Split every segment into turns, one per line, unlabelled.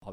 Har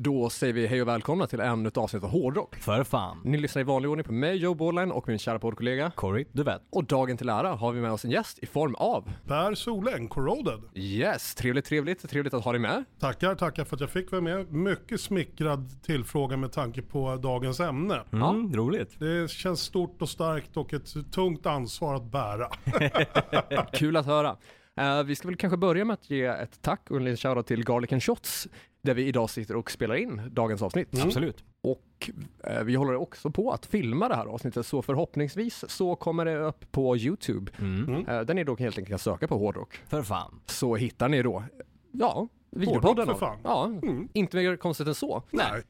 Då säger vi hej och välkomna till ännu ett avsnitt av Hårdrock.
För fan.
Ni lyssnar i vanlig ordning på mig, Joe Borland och min kära poddkollega.
Corey, du vet.
Och dagen till ära har vi med oss en gäst i form av
Per Soläng, Corroded.
Yes, trevligt, trevligt, trevligt att ha dig med.
Tackar, tackar för att jag fick vara med. Mycket smickrad tillfrågan med tanke på dagens ämne.
Mm, roligt.
Det känns stort och starkt och ett tungt ansvar att bära.
Kul att höra. Eh, vi ska väl kanske börja med att ge ett tack och en liten shoutout till Garlic and Shots där vi idag sitter och spelar in dagens avsnitt.
Mm.
Absolut.
Och eh, vi håller också på att filma det här avsnittet så förhoppningsvis så kommer det upp på Youtube.
Mm.
Eh, där ni då helt enkelt kan söka på hårdrock.
För fan.
Så hittar ni då, ja, videopodden.
Hårdrock för
då.
fan. Mm.
Ja, inte mer konstigt än så.
Nej.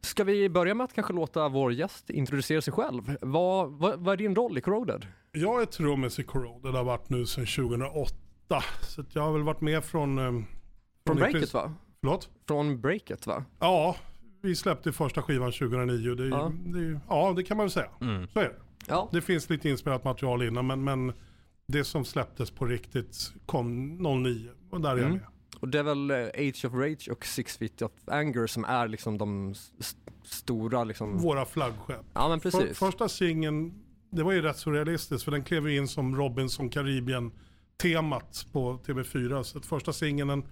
Ska vi börja med att kanske låta vår gäst introducera sig själv? Vad, vad, vad är din roll i Corroded?
Jag är trummis i Corroded, har varit nu sedan 2008. Så att jag har väl varit med från... eh,
Från
i
Breaket
princip-
va?
Förlåt?
Från Breaket va?
Ja, vi släppte första skivan 2009. Det, är-
Ja.
Det, är- ja, det kan man väl säga.
Mm.
Så är det.
Ja.
Det finns lite inspelat material innan, men, men det som släpptes på riktigt kom 09. Och där är jag med.
Och det är väl eh, Age of Rage och Six Feet of Anger som är liksom de s- s- stora liksom.
Våra flaggskepp.
Ja men
För,
precis.
första singeln, det var ju rätt surrealistiskt för den klev ju in som Robinson Karibien-temat på TV4. Så att första singeln den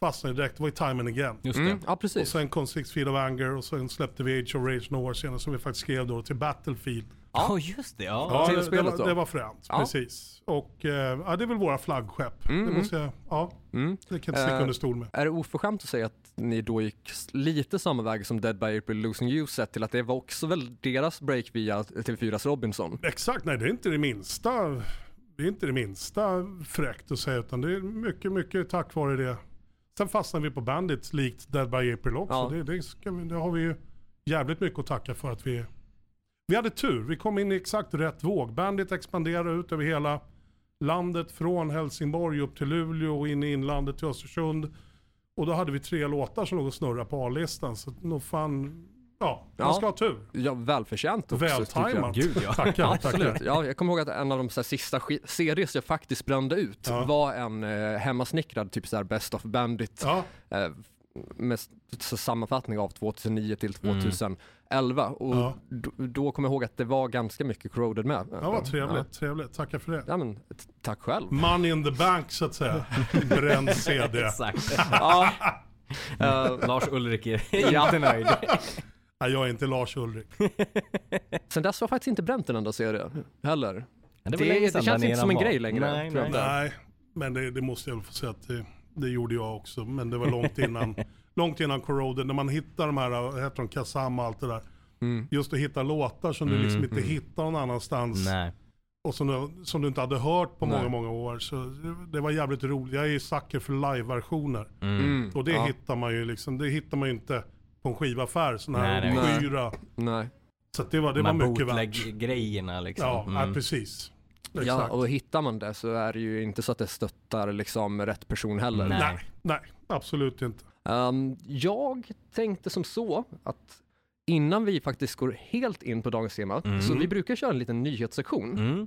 fastnade direkt, det var ju Time and Again.
Just
Mm,
det.
ja
Och
precis.
sen kom Six Feet of Anger och sen släppte vi Age of Rage några år senare som vi faktiskt skrev då till Battlefield.
Ja, just det. Ja.
till
det, det,
spelet då?
var, det var fränt,
Ja. Mm.
precis. Och eh, ja, det är väl våra flaggskepp. det måste jag, ja, det kan jag inte sticka
Eh,
under stol med.
Är det oförskämt att säga att ni då gick s- lite samma väg som Dead by April Losing You sett till att det var också väl deras break via TV4s Robinson?
Exakt, nej det är inte det minsta. Det är inte det minsta fräckt att säga utan det är mycket, mycket tack vare det. Sen fastnade vi på bandet likt Dead by April också.
Ja.
Det, det, ska vi, det har vi ju jävligt mycket att tacka för att vi... Vi hade tur, vi kom in i exakt rätt våg. Bandit expanderade ut över hela landet från Helsingborg upp till Luleå och in i inlandet till Östersund. Och då hade vi tre låtar som låg och snurrade på A-listan. Så nog fan, ja, man
Ja.
ska ha tur.
Ja, välförtjänt också tycker jag.
Vältajmat.
Gud, ja.
Tackar, tackar.
Absolut. Ja, jag kommer ihåg att en av de så här, sista sk- series jag faktiskt brände ut
Ja.
var en eh, hemmasnickrad typ så här Best of Bandit
Ja.
eh, med s- så sammanfattning av 2009 till 2011. Och
Ja.
d- då kommer jag ihåg att det var ganska mycket corroded med.
Ja, vad trevligt. Trevligt. Tackar för det.
Ja, men, t- tack själv.
Money in the bank så att säga. Bränd CD.
Exakt.
ja. Eh,
Lars Ulrik är inte nöjd.
Nej, jag är inte Lars Ulrik.
sen dess har jag faktiskt inte bränt en enda serie heller.
Ja,
Det- det känns inte som en grej längre,
Nej,
tror jag.
nej.
Nej, men det, det måste jag väl få säga att det, det gjorde jag också. Men det var långt innan, långt innan Corroded. När man hittar de här, vad heter de, Kazam och allt det där.
Mm.
Just att hitta låtar som du liksom inte hittar någon annanstans.
nej.
Och som du, som du inte hade hört på
Nej.
många, många år. Så det, det var jävligt roligt. Jag är ju sucker för live-versioner.
Mm.
Och det
ja.
hittar man ju liksom, det hittar man ju inte på en skivaffär. Sådana
Nej,
här
det
är-
obskyra.
Nej.
Så att det var, det
De
var
här
mycket värt.
bootleg-grejerna liksom.
Ja, ja,
Mm.
precis. Exakt.
Ja, och hittar man det så är det ju inte så att det stöttar liksom rätt person heller.
Nej.
nej, nej, absolut inte.
Ehm, jag tänkte som så att innan vi faktiskt går helt in på dagens tema, så vi brukar köra en liten nyhetssektion.
Mm.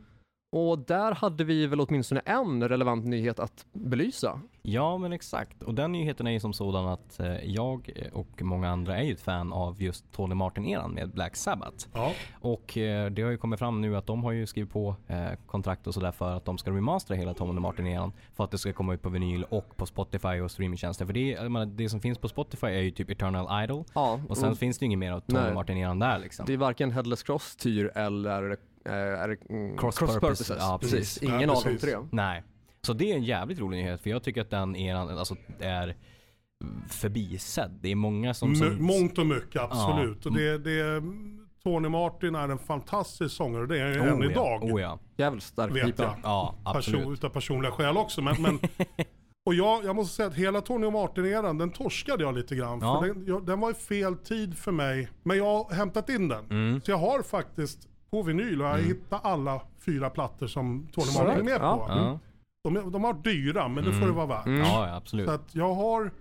Och där hade vi väl åtminstone en relevant nyhet att belysa.
Ja, men exakt. Och den nyheten är ju som sådan att eh, jag och många andra är ju ett fan av just Tony Martin-eran med Black Sabbath.
Ja,
Och eh, det har ju kommit fram nu att de har ju skrivit på eh, kontrakt och sådär för att de ska remastera hela Tom och Martin igen. För att det ska komma ut på vinyl och på Spotify och streamingtjänster. För det, jag menar, det som finns på Spotify är ju typ Eternal Idol.
Ja,
Och sen
och
finns det ju inget mer av Tom
Mm. Nej.
och Martin eran där liksom.
det är varken Headless Cross, Tyr eller eh, är det, mm,
Cross
Purposes.
Purposes. Ja,
precis.
precis.
Ingen
Ja,
av de
precis.
tre.
Nej. Så det är en jävligt rolig nyhet för jag tycker att den eran alltså, är förbisedd. Det är många som...
M-
som
mångt och mycket, absolut. Och
mm.
det, det, Tony Martin är en fantastisk sångare, det är han ju än
ja.
idag.
Oh, ja.
Jävligt stark
Vet
pipa.
jag.
ja, absolut.
Person, utav personliga skäl också. Men, men, Och jag, jag måste säga att hela Tony och Martin-eran, den torskade jag lite grann.
Ja.
För den, jag, den var i fel tid för mig. Men jag har hämtat in den.
Mm.
Så jag har faktiskt på vinyl och jag hittat alla fyra plattor som Tony och Martin är med på. Mm.
Ja.
Ja, Mm.
De, är- de har dyra, men det får det vara värt.
ja absolut.
Så att jag har,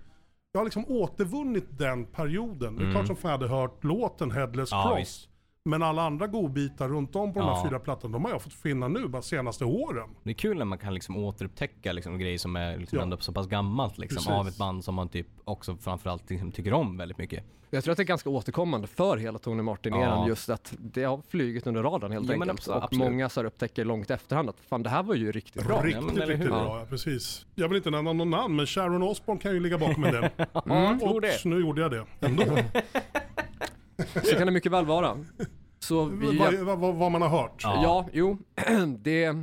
jag har liksom återvunnit den perioden. Det är klart som fan jag hade hört låten Headless
Mm. Ja,
Cross.
visst.
Men alla andra godbitar runt om på de
Ja.
här fyra plattorna, de har jag fått finna nu, bara senaste åren.
Det är kul när man kan liksom återupptäcka liksom grejer som är liksom
Ja.
ändå så pass gammalt liksom,
Precis.
av ett band som man typ också framförallt liksom tycker om väldigt mycket.
Jag tror att det är ganska återkommande för hela Tony Martin-eran
Ja.
just att det har flugit under radarn helt
Ja, men
enkelt.
abso-
och
absolut.
många så här upptäcker långt efterhand att fan det här var ju riktigt bra.
riktigt,
men eller
riktigt
hur?
bra. Ja, precis. Jag vill inte nämna någon namn, men Sharon Osbourne kan ju ligga bakom en del.
jag tror
Och
det.
nu gjorde jag det ändå.
Så kan det mycket väl vara. Så vi,
vad, vad, vad, vad man har hört.
Ja.
ja, jo, det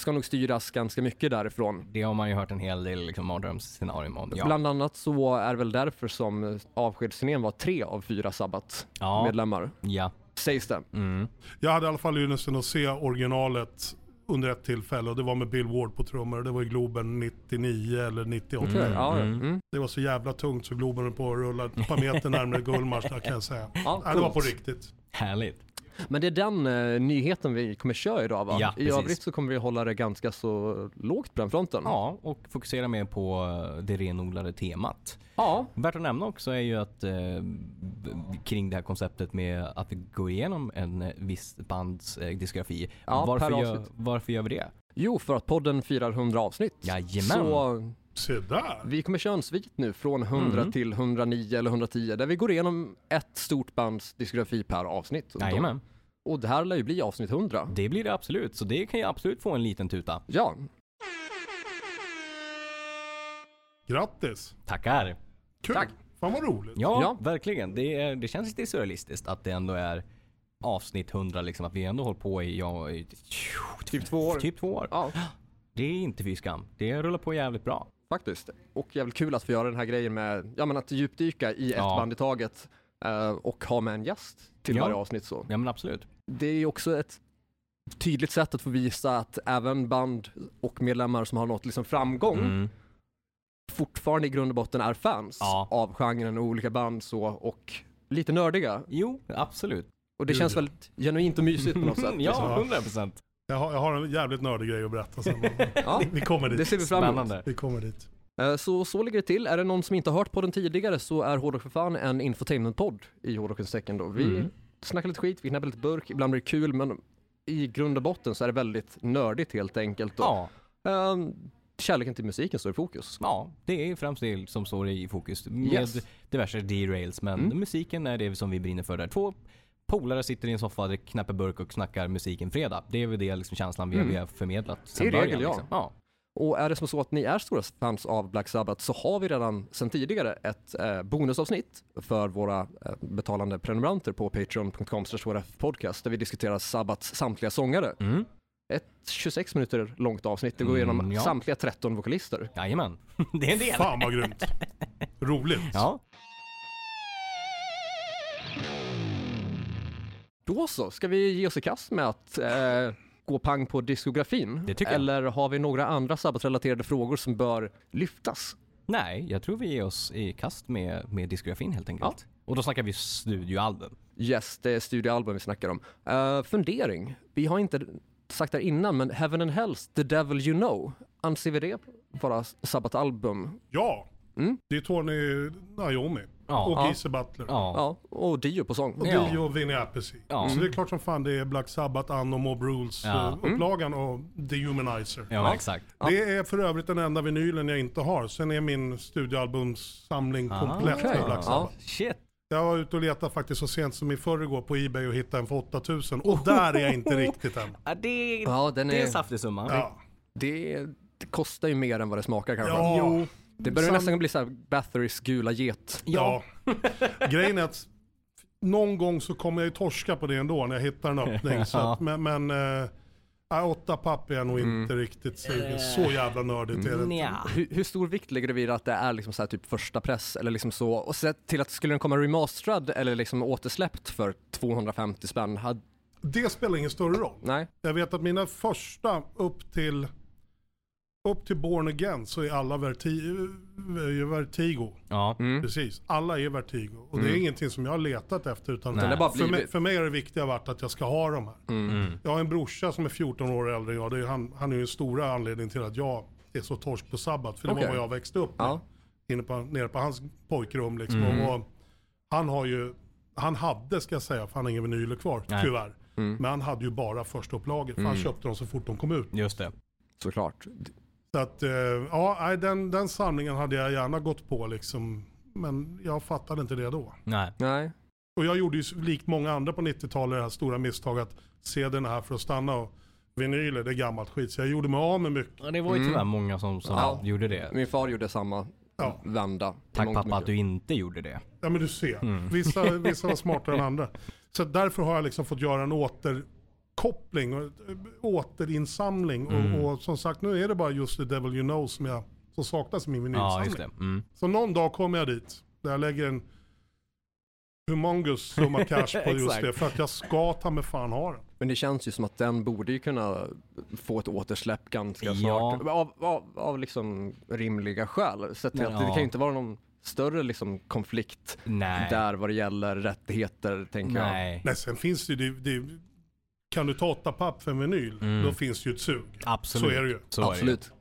ska nog styras ganska mycket därifrån.
Det har man ju hört en hel del liksom, mardrömsscenarion om. Ja.
Bland annat så är väl därför som eh, avskedsturnén var tre av fyra
ja. Mm,
Sabbat-medlemmar.
ja.
Sägs det.
Jag hade i alla fall ynnesten att se originalet under ett tillfälle och det var med Bill Ward på trummor. Det var i Globen 99 eller 98.
Ja, mm.
Det var så jävla tungt så Globen höll på att rulla ett par meter närmare Gullmars där kan jag säga.
Ja,
Nej, det var
coolt.
på riktigt.
Härligt.
Men det är den eh, nyheten vi kommer köra idag va?
Ja,
I
precis.
övrigt så kommer vi hålla det ganska så lågt på den fronten.
Ja, och fokusera mer på eh, det renodlade temat.
ja.
Värt att nämna också är ju att eh, b- kring det här konceptet med att vi går igenom en eh, viss bands eh, diskografi.
Ja,
varför,
per
gör,
avsnitt.
varför gör vi det?
Jo, för att podden firar 100 avsnitt.
Jajamän.
Så
Se där.
vi kommer köra en svit nu från 100
Mm.
till 109 eller 110 där vi går igenom ett stort bands diskografi per avsnitt. Och då-
Jajamän.
Och det här lär ju bli avsnitt 100.
Det blir det absolut, så det kan ju absolut få en liten tuta.
Ja,
Grattis.
Tackar!
Kul.
Tack.
Fan vad roligt.
Ja,
Ja.
verkligen. Det, är, det känns lite surrealistiskt att det ändå är avsnitt 100 liksom. Att vi ändå hållit på i, ja, i
Typ två år.
Typ två år.
ja.
Det är inte fy skam. Det rullar på jävligt bra.
Faktiskt. Och jävligt kul att få göra den här grejen med, ja men att djupdyka i ett
Ja.
band i taget eh, och ha med en gäst till
Ja.
varje avsnitt så.
Ja men absolut.
Det är ju också ett tydligt sätt att få visa att även band och medlemmar som har nått liksom framgång
Mm.
fortfarande i grund och botten är fans
Ja.
av genren och olika band så och lite nördiga.
Jo, absolut.
Och det
Gud,
känns
ja.
väldigt genuint och mysigt på något sätt. liksom.
ja, 100 procent.
Jag, har, jag har en jävligt nördig grej att berätta sen.
ja.
Vi kommer
Det
dit.
ser vi fram emot.
Spännande.
Vi kommer dit.
Eh, Så, så ligger det till. Är det någon som inte har hört podden tidigare så är Hårdrock för fan en infotainmentpodd i Hårdrockens tecken. Då. Vi
Mm.
snackar lite skit, vi knäpper lite burk, ibland blir det kul men i grund och botten så är det väldigt nördigt helt enkelt. Då.
Ja,
Eh, kärleken till musiken står i fokus.
ja, det är främst det som står i fokus med
Yes. Mm.
diverse derails. Men musiken är det som vi brinner för där. Två polare sitter i en soffa, dricker- knäpper burk och snackar musiken fredag. Det är väl det liksom känslan vi, vi har förmedlat sen
I
början.
Mm. regel, ja.
liksom. ja.
Och är det som så att ni är stora fans av Black Sabbath så har vi redan sedan tidigare ett eh, bonusavsnitt för våra eh, betalande prenumeranter på patreon.com podcast där vi diskuterar Sabbats samtliga sångare.
Mm.
Ett 26 minuter långt avsnitt. Det går igenom
Mm, ja.
samtliga 13 vokalister.
Jajamän, det är en del.
Fan vad grymt. Roligt.
Ja.
Då så, ska vi ge oss i kast med att eh, gå pang på diskografin?
Det tycker jag.
Eller har vi några andra sabbatrelaterade frågor som bör lyftas?
Nej, jag tror vi ger oss i kast med, med diskografin helt enkelt. Och då snackar vi studioalbum.
Yes, det är studioalbum vi snackar om. Eh, fundering. Vi har inte sagt det här innan, men Heaven and Hells, The Devil You Know, anser vi det vara sabbatalbum?
Ja.
Mm.
Det är Tony Naomi
Ja.
och
Ja.
Geezer Butler.
Ja.
Ja, och Dio på sång.
Och
Ja.
Dio och Vinnie Appice.
Ja. Mm.
Så det är klart som fan det är Black Sabbath, Anno, Mob Rules,
Ja. Mm.
eh, upplagan och The Humanizer.
ja, exakt.
Det är för övrigt den enda vinylen jag inte har. Sen är min studioalbumssamling
Ah,
komplett
okej.
med Black Sabbath.
Ja.
Shit.
Jag var ute och letade faktiskt så sent som i förrgår på Ebay och hittade en för 8000 och där är jag inte riktigt än.
Ja, det,
Ja, den
det är en
är,
saftig summa.
Ja.
det, det kostar ju mer än vad det smakar kanske.
Ja. Jo.
Det börjar
Sam-
nästan bli så här Batherys gula get.
Ja. Grejen är att någon gång så kommer jag ju torska på det ändå när jag hittar en öppning. Så att, men men eh, äh, åtta papp är jag nog inte riktigt sugen. Så jävla nördigt är det inte.
Nja.
Hur, hur stor vikt lägger du vid att det är liksom så här typ första press eller liksom så? Och sett till att skulle den komma remasterad eller liksom återsläppt för 250 spänn? Had,
Det spelar ingen större roll.
nej?
Jag vet att mina första upp till upp till Born Again så är alla verti, eh, Vertigo.
Ja.
Mm.
Precis, alla är Vertigo. Och det är ingenting som jag har letat efter. Utan
Det har bara
för, mig,
blivit.
för mig har det viktiga varit att jag ska ha de här.
Mm.
Jag har en brorsa som är 14 år äldre än jag. Det är, han, han är ju den stora anledningen till att jag är så torsk på sabbat. För det
Okej.
var vad jag växte upp med.
Ja. Mm.
Inne på, nere på hans pojkrum liksom. Och han har ju, han hade ska jag säga, för han har inga vinyler kvar,
Nej.
tyvärr.
Mm.
Men han hade ju bara första upplaget. För han köpte dem så fort de kom ut.
Just det.
Såklart.
Så att, eh, ja, nej, den, den samlingen hade jag gärna gått på liksom. Men jag fattade inte det då.
Nej.
Nej.
Och jag gjorde ju likt många andra på 90-talet det här stora misstaget att se den här för att stanna. Och vinyler, det är gammalt skit. Så jag gjorde mig av med mycket.
Ja, det var ju tyvärr många som, som
Mm. Ja.
gjorde det.
Min far gjorde samma
Ja.
vända. i
Tack
mångt och
pappa att
mycket.
du inte gjorde det.
Ja men du ser,
Mm.
vissa, vissa var smartare än andra. Så därför har jag liksom fått göra en återkoppling, och, eh, återinsamling.
Mm.
Och, och som sagt, nu är det bara just The Devil You Know som, jag, som saknas i min
Ja, just
vinylsamling.
det. Mm.
så någon dag kommer jag dit, där jag lägger en humongous summa cash på just
Exakt.
det. För att jag ska ta mig fan ha den.
Men det känns ju som att den borde ju kunna få ett återsläpp ganska
Ja.
snart. Av, av, av liksom rimliga skäl. Sett till att det
Ja.
kan ju inte vara någon större liksom konflikt
Nej.
där vad det gäller rättigheter tänker jag.
Nej.
Nej, sen finns det ju, det, det, kan du ta åtta papp för en vinyl,
Mm.
då finns det ju ett sug.
Absolut.
Så är det ju.
Så är det
Absolut.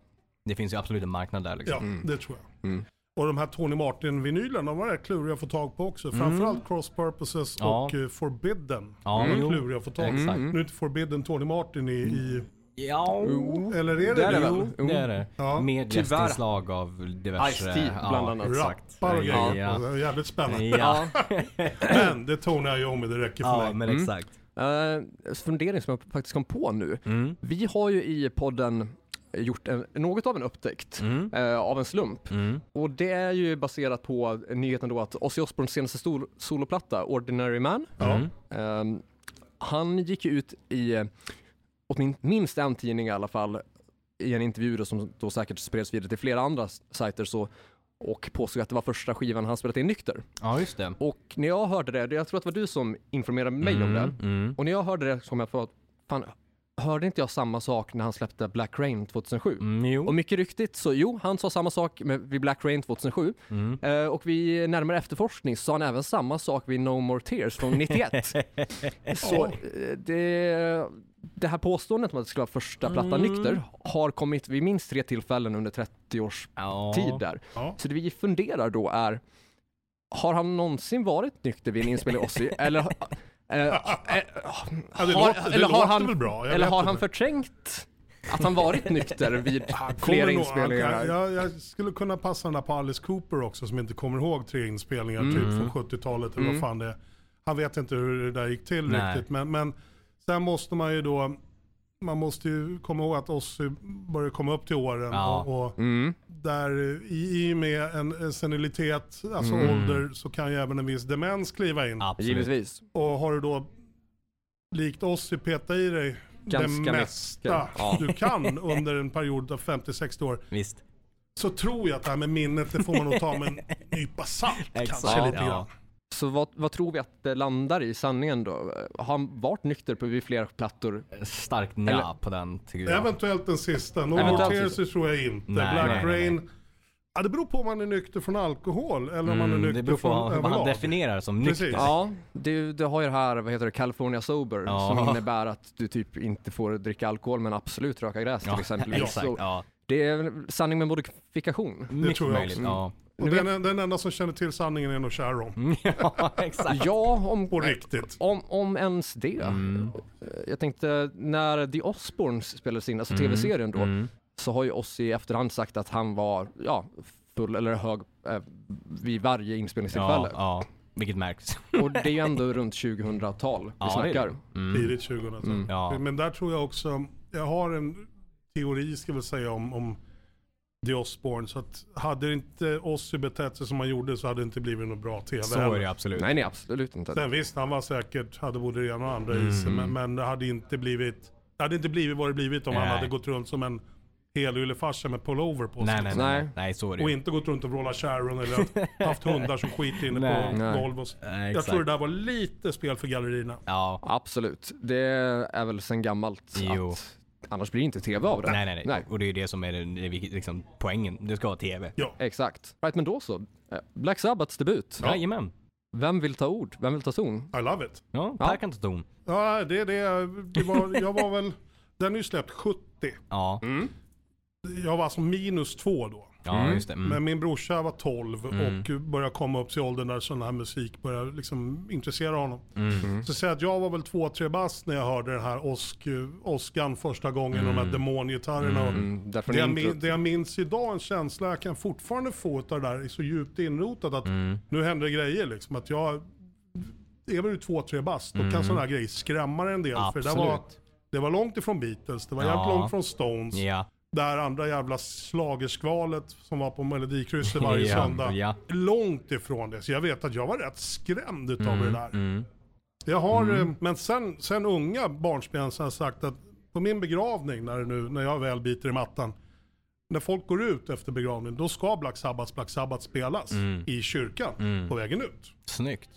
Det finns ju absolut en marknad där liksom.
Ja,
Mm.
det tror jag. Och de här Tony Martin-vinylerna, de var rätt kluriga att få tag på
Mm.
också. Framförallt Cross Purposes
Ja.
och eh, Forbidden.
Ja,
de
jo.
var kluriga att få tag på.
Exakt.
Nu är inte Forbidden Tony Martin i... i
Ja.
Oh.
eller är det
Mm. Där är
det?
väl.
Det är det.
Ja.
Med
Tyvärr.
gästinslag av diverse...
Ice-T bland annat.
Exakt.
Rappar och grejer.
Ja.
Det är Jävligt spännande.
Ja,
Men det tonar jag ju om, det räcker för
ja
mig.
men
Mm.
exakt.
Eh, fundering som jag faktiskt kom på nu. Vi har ju i podden gjort en, något av en upptäckt
Mm.
eh, av en slump. Och det är ju baserat på nyheten då att Ozzy Osbournes senaste sol- soloplatta, Ordinary Man,
Ja.
Ehm, han gick ju ut i, eh, åtmin- minst en tidning i alla fall, i en intervju då, som då säkert spreds vidare till flera andra s- sajter så, och påstod att det var första skivan han spelat in nykter.
Ja, just det.
Och när jag hörde det, det- jag tror att det var du som informerade mig om det,
Mm.
och när jag hörde det så kom jag på att fan, hörde inte jag samma sak när han släppte Black Rain 2007?
Mm,
Och
jo.
mycket ryktigt så jo, han sa samma sak med, vid Black Rain 2007
Mm.
eh, och vid närmare efterforskning sa han även samma sak vid No More Tears från 91. så eh, det, det här påståendet om att det skulle vara första plattan nykter har kommit vid minst tre tillfällen under 30 års
Ja.
tid där.
Ja.
Så det vi funderar då är, har han någonsin varit nykter vid en inspelning av Ozzy? Eller, eh, eh,
det låter-
har,
det
eller har
låter
han,
väl bra, jag
eller
vet
har
inte.
han förträngt att han varit nykter vid
Kommer
flera
nog-
inspelningar?
jag, jag, jag skulle kunna passa den där på Alice Cooper också som inte kommer ihåg tre inspelningar typ
Mm.
från 70-talet eller vad fan det är. Han vet inte hur det där gick till
Nej.
riktigt. Men, men sen måste man ju då, man måste ju komma ihåg att Ozzy börjar komma upp till åren.
Ja.
Och, och
Mm,
där i, i och med en, en senilitet, alltså
Mm.
ålder, så kan ju även en viss demens kliva in.
Absolut.
Givetvis.
Och har du då, likt Ozzy, petat i dig
Ganska
det mesta
mycket. Ja.
du kan under en period av 50-60 år
Visst.
så tror jag att det här med minnet, det får man nog ta med en nypa salt kanske lite grann.
Ja.
Så vad, vad tror vi att det landar i sanningen då? Har han varit nykter på vid flera plattor?
Starkt nja
Eller-
på den tycker jag.
Eventuellt den sista. No
Eventuellt
Tears tror jag inte.
Nej,
Black
nej, nej, nej.
Rain. Ja, det beror på om man är nykter från alkohol eller om man är
Mm,
nykter
det beror på
från
vad han
överlag.
definierar som nykter.
Precis.
Ja, det, det har ju det här, vad heter det, California Sober
Ja.
som innebär att du typ inte får dricka alkohol men absolut röka gräs till
Ja,
exempel.
exakt.
Så
Ja.
Det är sanning med modifikation.
Mycket
tror jag
möjligt.
också.
Ja. Mm.
Och den, den enda som känner till sanningen är nog Sharon.
ja, exakt.
Ja, om,
Mm.
På riktigt.
om, om ens det. Jag tänkte, när The Osbournes spelades in, alltså
Mm.
tv-serien då, så har ju Ozzy i efterhand sagt att han var ja, full eller hög eh, vid varje
Ja,
inspelningstillfälle.
ja, vilket märks.
Och det är ju ändå runt 2000-tal vi
Ja, det är
snackar.
det.
Tidigt 2000
Mm. Ja.
Men där tror jag också, jag har en teori ska jag väl säga om, om The Osbourne. Så att hade inte Ozzy betett sig som han gjorde så hade det inte blivit något bra tv
Så är det absolut.
Nej, nej absolut inte.
Alltså.
Sen visst, han var säkert, hade både det ena och andra
Mm.
i sig, men, men det hade inte blivit, det hade inte blivit vad det blivit om han
Nej.
hade gått runt som en helyllefarsa med pullover på sig.
Nej, nej, nej.
Nej.
Nej, så är det
Och
ju.
inte gått runt och vrålat Sharon eller haft hundar som skit inne
Nej.
på
Nej.
golv och så.
Nej,
Jag
exakt.
tror det där var lite spel för gallerierna.
Ja,
Absolut. Det är väl sen gammalt
Jo.
att Annars blir det inte tv av det.
Nej, nej, nej, Och det är ju det som är det, det är vi- liksom, poängen. Det ska vara TV.
Ja.
Exakt. Right, men då så. Eh, Black Sabbaths debut.
Ja.
Jajamän.
Vem vill ta ord? Vem vill ta
Mm.
ton?
I love it.
Ja,
Ja.
Per kan ta ton.
Ja, det är det. det var, jag var väl... Den är ju släppt 70.
Ja,
Jag var alltså minus två då.
ja
Mm.
just det. Mm.
Men min brorsa var 12 och började komma upp till åldern där sån här musik började liksom intressera honom. Så säg att jag var väl två, tre bast när jag hörde den här Osk, Oskan första gången, och de här demongitarrerna. och-
Mm, därför
Det jag,
intro.
min, det jag minns idag, en känsla jag kan fortfarande få utav det där, är så djupt inrotat att nu händer det grejer liksom. Att jag, är väl två, tre bast, då kan sådana här grejer skrämma en del. För det, där var,
Absolut.
det var långt ifrån Beatles, det var
Ja.
jävligt långt från Stones.
Ja.
Det här andra jävla slagerskvalet som var på Melodikrysset varje
Ja,
söndag.
ja.
Långt ifrån det. Så jag vet att jag var rätt skrämd utav
Mm,
det där. Jag har, eh, men sen, sen unga barnsben så har jag sagt att på min begravning, när, det nu, när jag väl biter i mattan, när folk går ut efter begravningen, då ska Black Sabbath, Black Sabbath spelas
Mm.
i kyrkan på vägen ut.
Snyggt.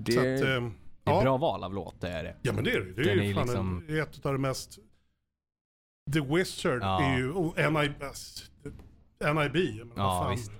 det,
Så att, eh,
Det är
ja,
bra val av låt, det är det.
ja men det är det. Det är
Den är
ju
ju
fan
liksom-
en, ett av det mest... The Wizard
Ja.
är ju, och NIB, alltså, NIB jag menar,
Ja,
fan,
visst.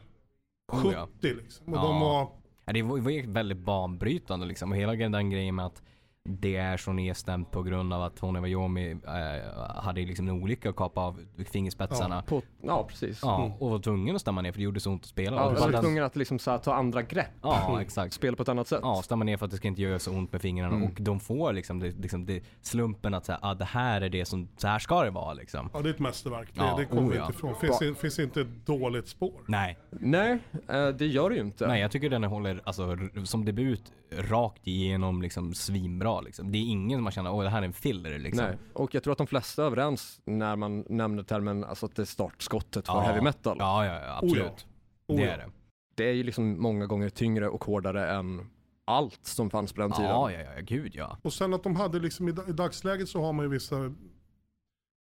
70
Oh, ja.
liksom. Och
Ja.
de var,
Ja, det var var ju väldigt banbrytande liksom. Och hela den grejen med att det är så nedstämt på grund av att Tony Iommi eh, hade liksom en olycka att kapa av fingerspetsarna. Ja.
på, ja, precis.
och var tvungen att stämma ner för det gjorde så ont att spela.
Ja,
Och
jag
det
var
bara-
tvungen att liksom så här, ta andra grepp.
ja exakt.
Spela på ett annat sätt.
Ja, stämma ner för att det ska inte göra så ont med fingrarna. Och de får liksom, det, liksom det, slumpen att säga, ah, det här är det som, så här ska det vara liksom.
ja det är ett mästerverk. Det,
Ja,
det kommer
oh,
vi
ja.
inte ifrån. Finns, i- finns inte ett dåligt spår.
Nej,
Nej, eh, det gör det ju inte.
nej jag tycker den håller, alltså r- som debut, rakt igenom liksom svinbra liksom. Det är ingen som man känner, åh det här är en filler liksom.
Nej, och jag tror att de flesta är överens när man nämner termen alltså att det är startskottet för
Ja.
heavy metal.
Ja, ja, ja absolut.
Oh,
det
ja.
är det.
Det är ju liksom många gånger tyngre och hårdare än allt som fanns på den tiden.
Ja, ja, ja, gud ja.
Och sen att de hade liksom, i, da- i dagsläget så har man ju vissa,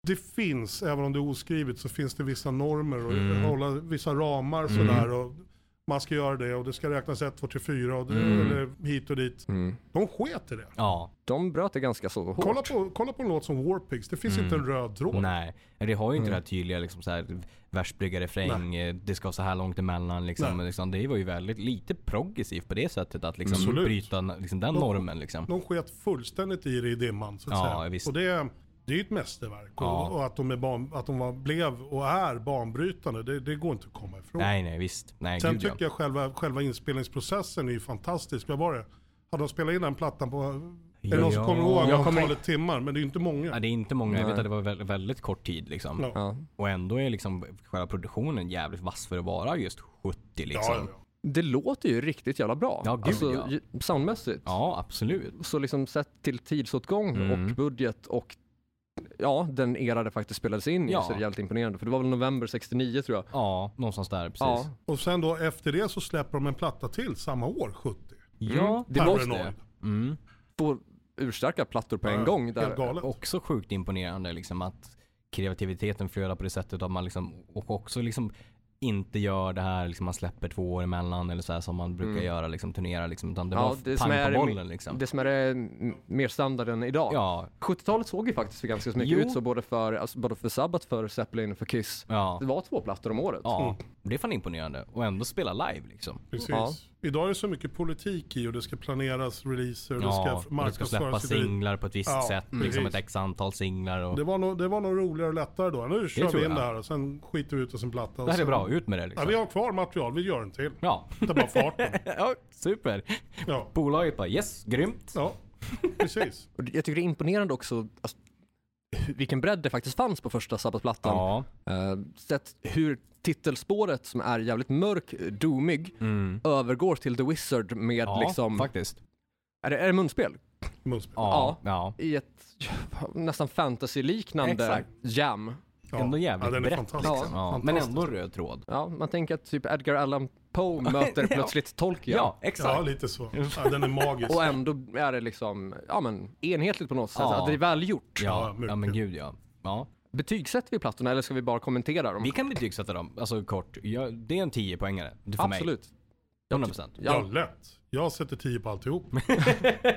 det finns, även om det är oskrivet, så finns det vissa normer och
Mm.
hålla vissa ramar sådär. Och man ska göra det och det ska räknas 1, 2, 3, 4 och,
Mm.
eller hit och dit. De sket i det.
Ja,
De bröt det ganska så hårt.
Kolla på, kolla på en låt som Warpigs, det finns inte en röd tråd.
Mm. nej. Det har ju
Mm.
inte det här tydliga liksom så här versbrygga refräng, eh, det ska så här långt emellan liksom.
Nej.
liksom. Det var ju väldigt lite progressivt på det sättet att liksom
Absolut.
bryta n- liksom, den normen liksom.
De sket fullständigt i det i dimman. Så att
Ja,
säga.
visst.
Och det, det är ju ett mästerverk.
Ja.
Och, och att de, är ban, att de var, blev och är banbrytande, det, det går inte att komma ifrån.
Nej, nej, visst. Nej,
Sen
gud ja.
tycker jag själva, själva inspelningsprocessen är ju fantastisk. Vad var det? Hade de spelat in den plattan på, är det någon som
Ja.
kommer ihåg
Jag kommer-
antalet timmar? Men det är ju inte många.
Ja, det är inte många, jag vet att det var väldigt, väldigt kort tid liksom.
Ja.
Ja.
Och ändå är liksom själva produktionen jävligt vass för att vara just 70
Ja,
liksom. Ja,
ja, ja.
Det låter ju riktigt jävla bra.
Ja, gud,
alltså,
ja.
ju- soundmässigt.
absolut.
Så liksom sett till tidsåtgång
Mm.
och budget och ja, den era det faktiskt spelades in i
Ja.
så är det jävligt imponerande. För det var väl november 69 tror jag.
Ja, någonstans där precis.
Ja,
Ja,
Och sen då efter det så släpper de en platta till samma år, 70.
det var
Paranoid.
det. Mm.
två urstarka plattor på en
Ja,
gång.
Helt
Där,
galet.
Också sjukt imponerande liksom att kreativiteten flödar på det sättet att man liksom, och också liksom inte gör det här liksom man släpper två år emellan eller så här som man brukar göra liksom turnera liksom utan det
Ja,
var
det som
pang
är-
på bollen liksom.
det som är eh, m- mer standarden idag.
ja,
70-talet såg ju faktiskt ganska så mycket
Jo.
ut så både för, alltså, både för Sabbath, för Zeppelin och för Kiss.
ja,
Det var två plattor om året.
ja. Det är fan imponerande och ändå spela live liksom.
Precis.
Ja.
Idag är det så mycket politik i och det ska planeras releaser och
Ja,
det ska
och det ska släppa
marknadsföras. i-
singlar på ett visst
Ja,
sätt.
precis.
Liksom ett x antal singlar och...
Det var, nog, det var nog roligare och lättare då. Nu kör
tror
vi in
jag.
det här och sen skiter vi ut oss en platta. och
Det här är
sen-
bra, ut med det
Ja, vi
liksom.
har kvar material, vi gör en till.
Ja,
Det är bara farten.
ja super.
Ja,
Bolaget bara yes, grymt.
ja. precis.
Och jag tycker det är imponerande också alltså, hur- vilken bredd det faktiskt fanns på första Sabbath-plattan.
Ja,
Eh, sett hur titelspåret som är jävligt mörk, eh, doomig, övergår till The Wizard med
Mm. ja
liksom,
faktiskt.
är det, är det munspel?
Munspel.
Ja, ja.
I ett nästan fantasy-liknande
Exakt.
jam.
Ja.
Ändå jävligt
ja, den är
brett
fantastisk.
liksom.
Ja, men
Fantastisk.
ändå röd tråd.
Ja, man tänker att typ Edgar Allan Poe möter plötsligt Tolkien.
Ja,
Ja,
exakt.
lite så. Ja, den är magisk.
Och ändå är det liksom, ja men enhetligt på något sätt.
Ja.
Att det är välgjort.
Ja, ja,
mycket.
men gud ja. ja.
Betygsätter vi plattorna eller ska vi bara kommentera dem?
Vi kan betygsätta dem, alltså kort. Ja, det är en 10 poängare för mig.
Absolut.
100%.
Ja.
Ja, lätt. Jag sätter 10 på alltihop.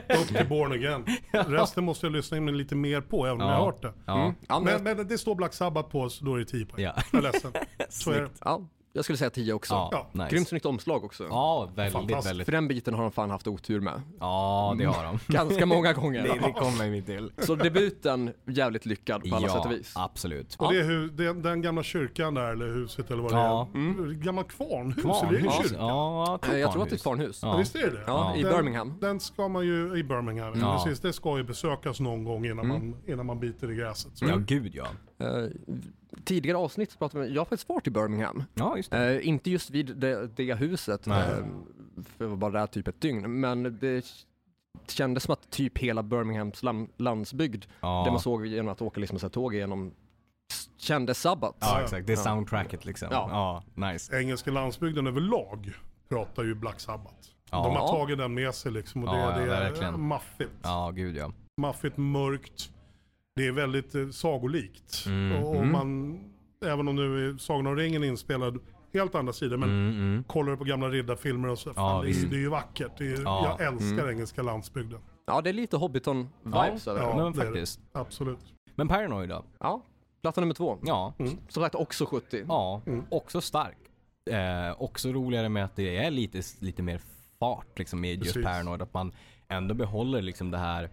Upp till Born Again. Resten måste jag lyssna in lite mer på, även om jag har hört det.
Ja.
Mm. Ja, men,
Men, men det står Black Sabbath på, så då är det 10 poäng.
Ja.
Jag är ledsen. Så är det.
ja, jag skulle säga 10 också.
Ja,
Ja.
nice.
Grymt snyggt omslag också.
Ja, väldigt,
Fantastiskt.
För
väldigt.
den biten har de fan haft otur med.
Ja, det har de.
Ganska många
Det,
gånger.
det kommer vi till.
Så debuten, jävligt lyckad på alla sätt och vis.
absolut.
Och det är hur, den, den gamla kyrkan där, eller huset eller vad det
Ja.
är. Gamla kvarnhus, eller är det en
Kvarnhus.
kyrka? Ja.
Ja,
Eh, Jag tror att det är
kvarnhus.
ett kvarnhus.
Ja.
Visst är det det?
Ja, i
Den-
Birmingham.
Den ska man ju, i Birmingham,
Ja. Mm.
precis. Det ska ju besökas någon gång innan, man, innan man biter i gräset. Så.
Ja, gud ja.
Eh, Tidigare avsnitt så pratade vi om, jag har faktiskt varit i Birmingham.
Ja, just det.
Eh, inte just vid det, det huset,
Nej.
eh, för jag var bara där typ ett dygn, men det kändes som att typ hela Birminghams lam- landsbygd,
Ja.
det man såg genom att åka liksom så här tåg igenom, s- kändes sabbat.
Ja, exakt. Det är
Ja.
soundtracket liksom.
Ja.
Ja, nice.
Engelska landsbygden överlag pratar ju Black Sabbath.
Ja.
De har
Ja.
tagit den med sig liksom och det,
Ja, ja,
det är
verkligen.
maffigt.
Ja, gud ja.
Maffigt, mörkt. Det är väldigt eh, sagolikt.
Mm.
Och, och man, även om nu är Sagan om ringen inspelad helt andra sidor, men
Mm, mm.
kollar du på gamla riddarfilmer och så, fan, det, är-
visst.
det är ju vackert. Det är,
Ja. Mm.
Jag älskar engelska landsbygden.
Ja, det är lite Hobbiton-vibes över det.
Ja,
men
det är det.
faktiskt.
Absolut.
Men Paranoid då?
Ja, platta nummer två.
Ja.
Som sagt också 70.
Ja, också stark. Eh, också roligare med att det är lite, lite mer fart liksom i just
Precis.
Paranoid. Att man ändå behåller liksom det här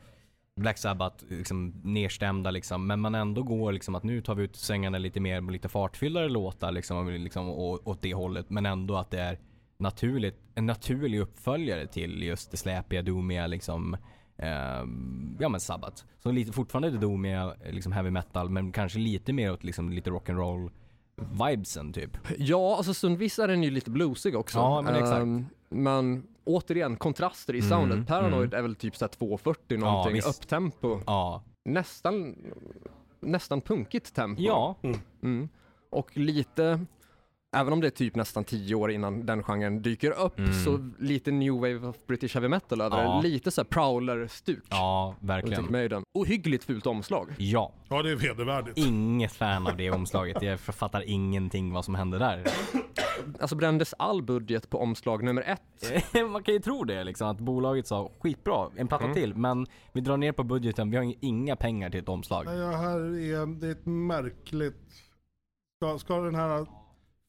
Black Sabbath, liksom nerstämda liksom. Men man ändå går liksom att nu tar vi ut svängarna lite mer med lite fartfyllare låtar liksom. Och, liksom och, åt det hållet. Men ändå att det är naturligt, en naturlig uppföljare till just det släpiga, doomiga liksom. Eh, ja men Sabbath. Så lite, fortfarande det doomiga, liksom heavy metal. Men kanske lite mer åt liksom lite rock'n'roll vibesen typ.
Ja, alltså stundvis är den ju lite bluesig också.
Ja, men exakt. Mm,
Ehm, men återigen, kontraster i soundet. Paranoid är väl typ såhär 2.40 någonting,
visst.
upptempo.
Ja.
Nästan, nästan punkigt tempo.
Ja.
Och lite, även om det är typ nästan 10 år innan den genren dyker upp, så lite new wave of British heavy metal över
Mm. Ja.
det. Lite såhär prowler-stuk.
Ja,
Jag tycker
verkligen.
mig den. Ohyggligt fult omslag.
Ja.
Ja, det är vedervärdigt.
Inget fan av det omslaget. Jag fattar ingenting vad som hände där.
Alltså brändes all budget på omslag nummer ett.
Man kan ju tro det liksom, att bolaget sa skitbra, en platta till, men vi drar ner på budgeten, vi har inga pengar till ett omslag.
Nej, Ja, här är, det är ett märkligt... Ska, ska den här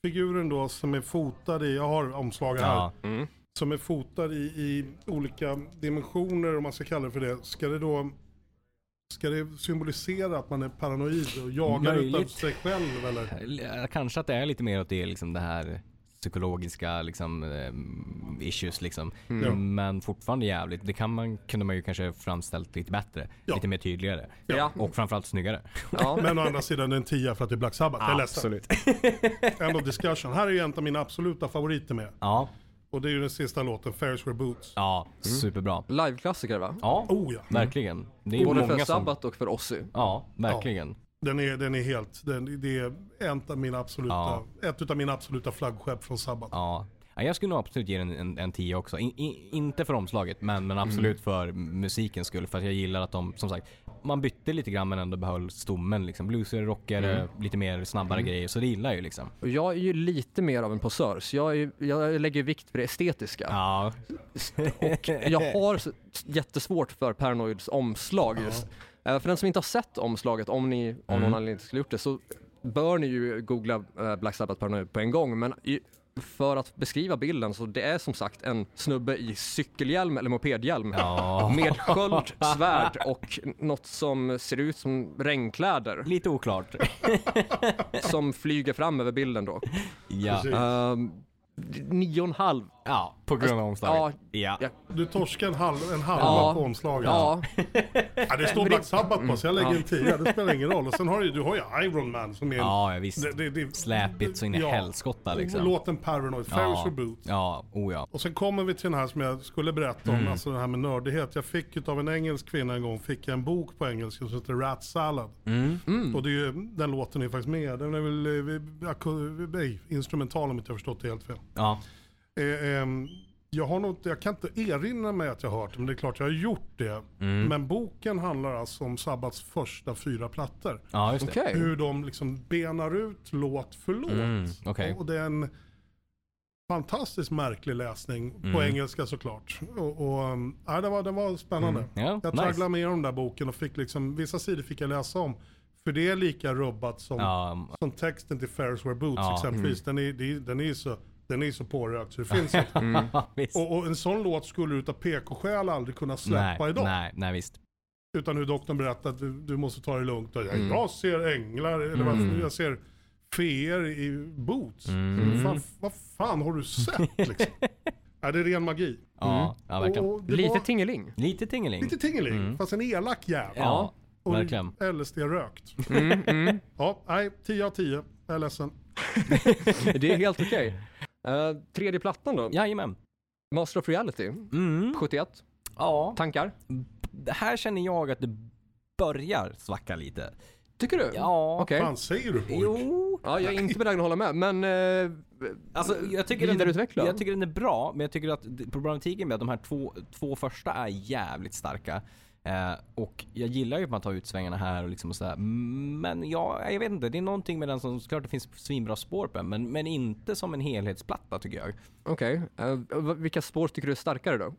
figuren då som är fotad i, jag har omslagen här,
Ja,
som är fotad i, i olika dimensioner om man ska kalla det för det. Ska det då ska det symbolisera att man är paranoid och jagar
Möjligt.
utan sig själv eller?
L- kanske att det är lite mer åt det, liksom det här psykologiska liksom, ehm, issues liksom. Men fortfarande jävligt. Det kan man, kunde man ju kanske framställt lite bättre.
Ja.
Lite mer tydligare.
Ja.
Och framförallt snyggare.
Ja.
Men å andra sidan det är en tia för att det är Black Sabbath. Jag är ledsen. End of discussion. Här är ju en av mina absoluta favoriter med.
Ja,
Och det är ju den sista låten, Ferris Were Boots.
ja superbra.
Liveklassiker va?
Ja,
Oh ja.
verkligen. Det är ju
Både
många
för
som...
Sabbath och för Ozzy.
Ja, verkligen.
Den är, den är helt, den, det är en av mina absoluta,
Ja.
ett utav mina absoluta flaggskepp från Sabbath.
Ja. Ja, Jag skulle nog absolut ge den en, en 10 också. In, in, inte för omslaget, men,
Mm.
men absolut för musikens skull. För att jag gillar att de, som sagt, man bytte lite grann men ändå behöll stommen. Liksom. Bluesigare, rockigare,
Mm.
lite mer snabbare grejer. Så det gillar jag ju liksom.
Och Jag är ju lite mer av en posör, så jag, är, ju- jag lägger vikt på det estetiska.
Ja,
Och jag har s- jättesvårt för Paranoids omslag just. Eh, För den som inte har sett omslaget, om ni av någon anledning inte skulle gjort det, så bör ni ju googla eh, Black Sabbath Paranoid på en gång. Men i, för att beskriva bilden så det är som sagt en snubbe i cykelhjälm eller mopedhjälm med sköld, svärd och något som ser ut som regnkläder
lite oklart.
som flyger fram över bilden då.
ja.
Precis.
Ehm, nio och en halv.
ja, på grund av omslaget. Ja.
ja.
Du torskar en, halv, en halva
Ja.
på omslaget.
Ja,
Ja, det står Black Sabbath på så jag lägger en tia, det spelar ingen roll. Och sen har du, ju- du har ju Iron Man som är en...
Mm. Ja, ja, visst.
det- det- det-
Släpigt så in i helskotta, liksom.
Låten Paranoid, Ferris
Ja.
for Boots.
Ja, oh ja.
Och sen kommer vi till den här som jag skulle berätta om,
Mm.
alltså den här med nördighet. Jag fick utav en engelsk kvinna en gång, fick jag en bok på engelska som heter Rat Salad.
Mm.
Och det är ju, den låten är faktiskt med. Den är väl eh, aku- nej, instrumental om inte jag har förstått det helt fel.
Ja,
Eh, ehm, jag, har nog, inte- jag kan inte erinra mig att jag hört det, men det är klart jag har gjort det. Men boken handlar alltså om Sabbats första fyra plattor.
ja just det.
okej.
Hur de liksom benar ut låt för låt.
Mm, okej.
Och, och det är en... fantastiskt märklig läsning
Mm.
på engelska såklart. Och, och, um, ja, det, var, det var spännande.
Mm, Ja,
jag
nice.
tragglade mig igenom den där boken och fick liksom, vissa sidor fick jag läsa om. För det är lika rubbat som,
Ja,
som texten till Ferris Wear Boots
Ja, mm.
exempelvis. Den, är, det är- den är ju så, den är ju så pårökt så det finns inte.
visst.
Mm. Och, och en sån låt skulle du utav PK-skäl aldrig kunna släppa
nej,
idag.
nej, nej visst.
Utan hur doktorn berättar att du, du måste ta det lugnt. Och, jag,
Mm.
jag ser änglar, eller vad, jag ser feer i boots.
Mm.
Vad, fan, vad fan har du sett liksom? är det är ren magi?
Ja, ja verkligen.
Mm. Och, och det
Lite
var
tingeling.
Lite tingeling.
lite tingeling, fast en elak jävel.
Ja,
och
verkligen. Mm,
LSD-rökt. ja, nej, 10 av 10. Jag är ledsen.
Det är helt okej. Eh, tredje plattan då.
Jajamän.
Master of Reality.
Mm.
71.
Ja.
Tankar?
Det Här känner jag att det börjar svacka lite.
Tycker du?
Ja.
Okej.
Fan säger du pojk?
Jo.
Ja, jag är inte benägen att hålla med, men eh,
Alltså, jag, tycker den
Vidareutvecklad.
är, jag tycker den är bra, men jag tycker att det- problematiken med att de här två, två första är jävligt starka. Eh, och jag gillar ju att man tar ut svängarna här och liksom och sådär. Men jag, jag vet inte, det är någonting med den som, såklart det finns svinbra spår på den, men, men inte som en helhetsplatta tycker jag.
okej. Eh, v- vilka spår tycker du är starkare
Mm.
då?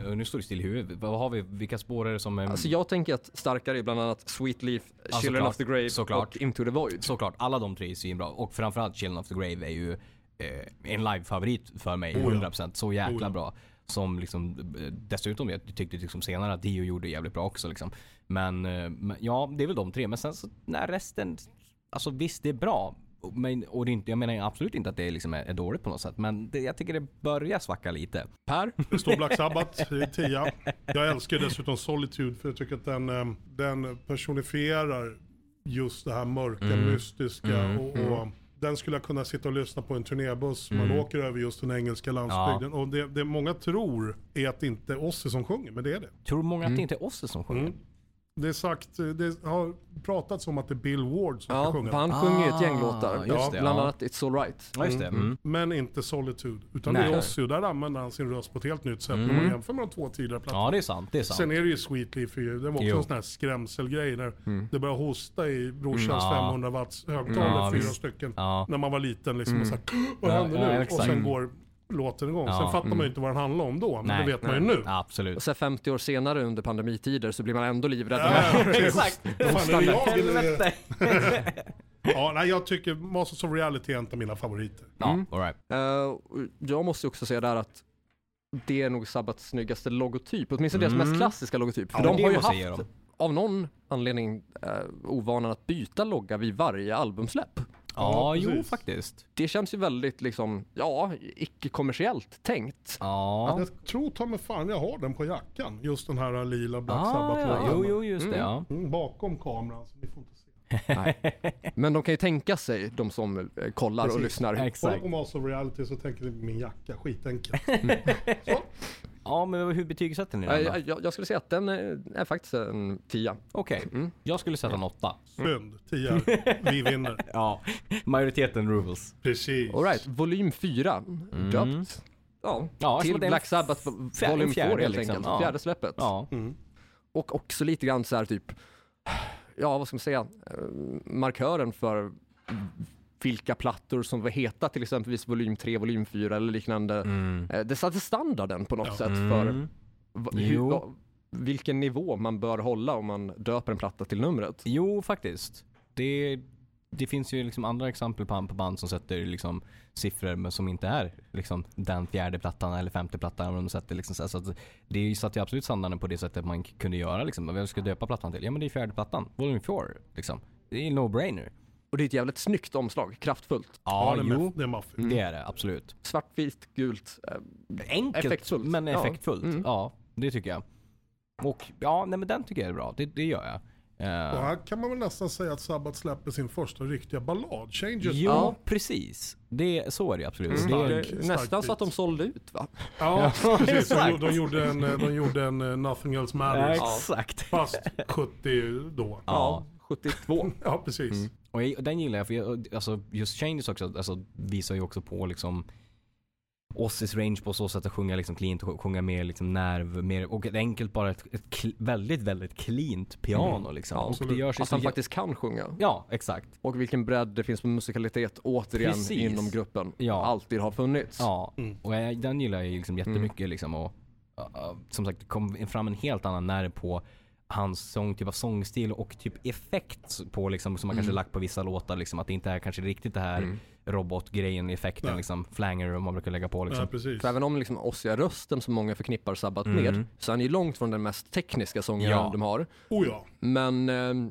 Eh, Nu står det still i huvudet. Vad har vi? Vilka spår är det som... är-
Alltså jag tänker att starkare är bland annat Sweet Leaf, Children
såklart.
of the Grave
Alltså,
och
Såklart.
Into the Void.
Såklart, alla de tre är svinbra. Och framförallt Children of the Grave är ju eh, en live-favorit för
Oh
mig. 100%. Så jäkla bra. Som liksom, eh, dessutom jag tyckte liksom senare att Dio gjorde jävligt bra också. Liksom. Men, eh, men ja, det är väl de tre. Men sen så, när resten, alltså visst det är bra. Men, och det är inte, jag menar absolut inte att det liksom är, är dåligt på något sätt. Men det, jag tycker det börjar svacka lite.
Per?
Det står Black Sabbath, det är 10. Jag älskar dessutom Solitude för jag tycker att den, eh, den personifierar just det här mörka, mystiska. Och, och Den skulle jag kunna sitta och lyssna på i en turnébuss. Man åker över just den engelska landsbygden. Och det, det många tror är att det inte är Ozzy som sjunger, men det är det.
Tror många att det inte är Ozzy som sjunger?
Mm. Det, är sagt, det har pratats om att det är Bill Ward som
Ja,
ska sjunga.
för han sjunger ju ett gäng
Ah,
låtar.
just
Ja,
det,
bland
ja.
annat It's Alright.
Ja, just det. Mm.
Men inte Solitude. Utan
Nej.
det är Ozzy och där använder han sin röst på ett helt nytt sätt. När man jämför med de två tidigare plattorna.
Ja, det är sant. Det är sant.
Sen är det ju Sweet Leaf, ju. det var också
Jo. Mm.
en sån här skrämselgrej när det började hosta i brorsans
Ja. Mm.
500 watts högtalare,
Ja,
fyra
visst.
stycken.
Ja. Mm.
När man var liten liksom och såhär, vad
Ja,
händer
ja,
nu?
exakt.
och sen
Mm.
går låten igång.
Ja, mm.
Sen fattar man ju inte vad den handlar om då, men
Nej,
det vet man ju nu.
Absolut.
Och sen 50 år senare under pandemitider så blir man ändå livrädd.
Exakt. Fan, är det jag eller?
Helvete.
Ja, nej, jag tycker Masters of Reality är en av mina favoriter.
Ja, all right.
Eh, jag måste ju också säga där att det är nog Sabbats snyggaste logotyp, åtminstone deras mest klassiska logotyp. För
Mm.
de
Ja, det
har ju
måste jag
haft,
ge dem.
av någon anledning, eh, ovanan att byta logga vid varje albumsläpp.
Ja, jo
precis.
faktiskt.
Det känns ju väldigt liksom, ja, icke-kommersiellt tänkt.
Ja.
Jag tror ta mig fan jag har den på jackan. Just den här äh, lila Black
Ah, ja.
Sabbath-låten.
Jo, jo, just det. Ja.
Mm, bakom kameran, så ni får inte se.
Men de kan ju tänka sig, de som eh, kollar och
Precis.
lyssnar.
Kolla
Exakt.
på Masters of Reality så tänker ni min jacka, skitenkelt.
Ja, men hur betygsätter ni
Eh,
den då?
Jag, jag, jag skulle säga att den är, är faktiskt en tia.
Okej, jag skulle sätta en åtta.
Synd, 10 Vi vinner.
Ja, majoriteten rules.
Precis.
All right, volym 4, döpt ja,
Mm. Ja,
till
som att det är en
Black Sabbath vo-
fjär-
volym 4
fjärde
helt
liksom.
enkelt,
Ja.
fjärde släppet.
Ja,
Och också lite grann så här typ, ja vad ska man säga, eh, markören för vilka plattor som var heta, till exempelvis volym 3, volym 4 eller liknande. Eh, Det satte standarden på något sätt för va, hur,
Mm. Jo.
va, vilken nivå man bör hålla om man döper en platta till numret.
jo faktiskt. Det, det finns ju liksom andra exempel på, på band som sätter liksom siffror men som inte är liksom den fjärde plattan eller femte plattan. om De sätter liksom så här, så att det satte ju absolut standarden på det sättet man k- kunde göra. Liksom. Vad ska jag döpa plattan till? Ja, men det är fjärde plattan, volym 4. Liksom. Det är no-brainer.
Och det är ett jävligt snyggt omslag, kraftfullt.
Ja,
Ja, det är,
jo.
maff- det är maffigt.
Det är det, absolut.
Svartvitt, gult. eh,
Mm. Enkelt,
Effektfullt.
men
Ja. Mm.
effektfullt. Ja. det tycker jag. Och ja, nej men den tycker jag är bra. Det, det gör jag. Eh,
Och här kan man väl nästan säga att Sabbath släpper sin första riktiga ballad, Changes.
jo,
Ja. Mm.
precis. Det, så är det absolut.
Det
Det,
är
Stark-
nästan
stark
så att de
bit.
sålde ut va?
Ja, precis. De,
exakt.
gjorde- de, gjorde en, eh, de gjorde en eh, Nothing Else Matters.
exakt.
Fast 70 då.
Ja, 72.
Ja, precis.
Och jag, den gillar jag för jag, alltså, just Changes också alltså, visar ju också på liksom Ossis range på så sätt att sjunga liksom cleant och sjunga mer liksom nerv. Mer, och ett enkelt bara ett, ett cl- väldigt, väldigt cleant piano
Mm.
liksom. och det
absolut.
görs ju
Att
så
han
jä-
faktiskt kan sjunga.
Ja, exakt.
Och vilken bredd det finns på musikalitet återigen
Precis.
inom gruppen.
Ja.
Alltid har funnits.
Ja, och jag, den gillar jag ju liksom jättemycket liksom. Och, ja, ja, som sagt, det kom fram en helt annan nerv på hans sång, typ av sångstil och typ effekt på liksom, som man kanske lagt på vissa låtar liksom. Att det inte är kanske riktigt det här robotgrejen, effekten
Nej.
liksom. Flanger man brukar lägga på liksom.
Ja, precis.
För även om liksom Ossia-rösten som många förknippar Sabbat med, så är han ju långt från den mest tekniska sångaren
Mm. Ja.
de har.
Oh ja.
Men eh,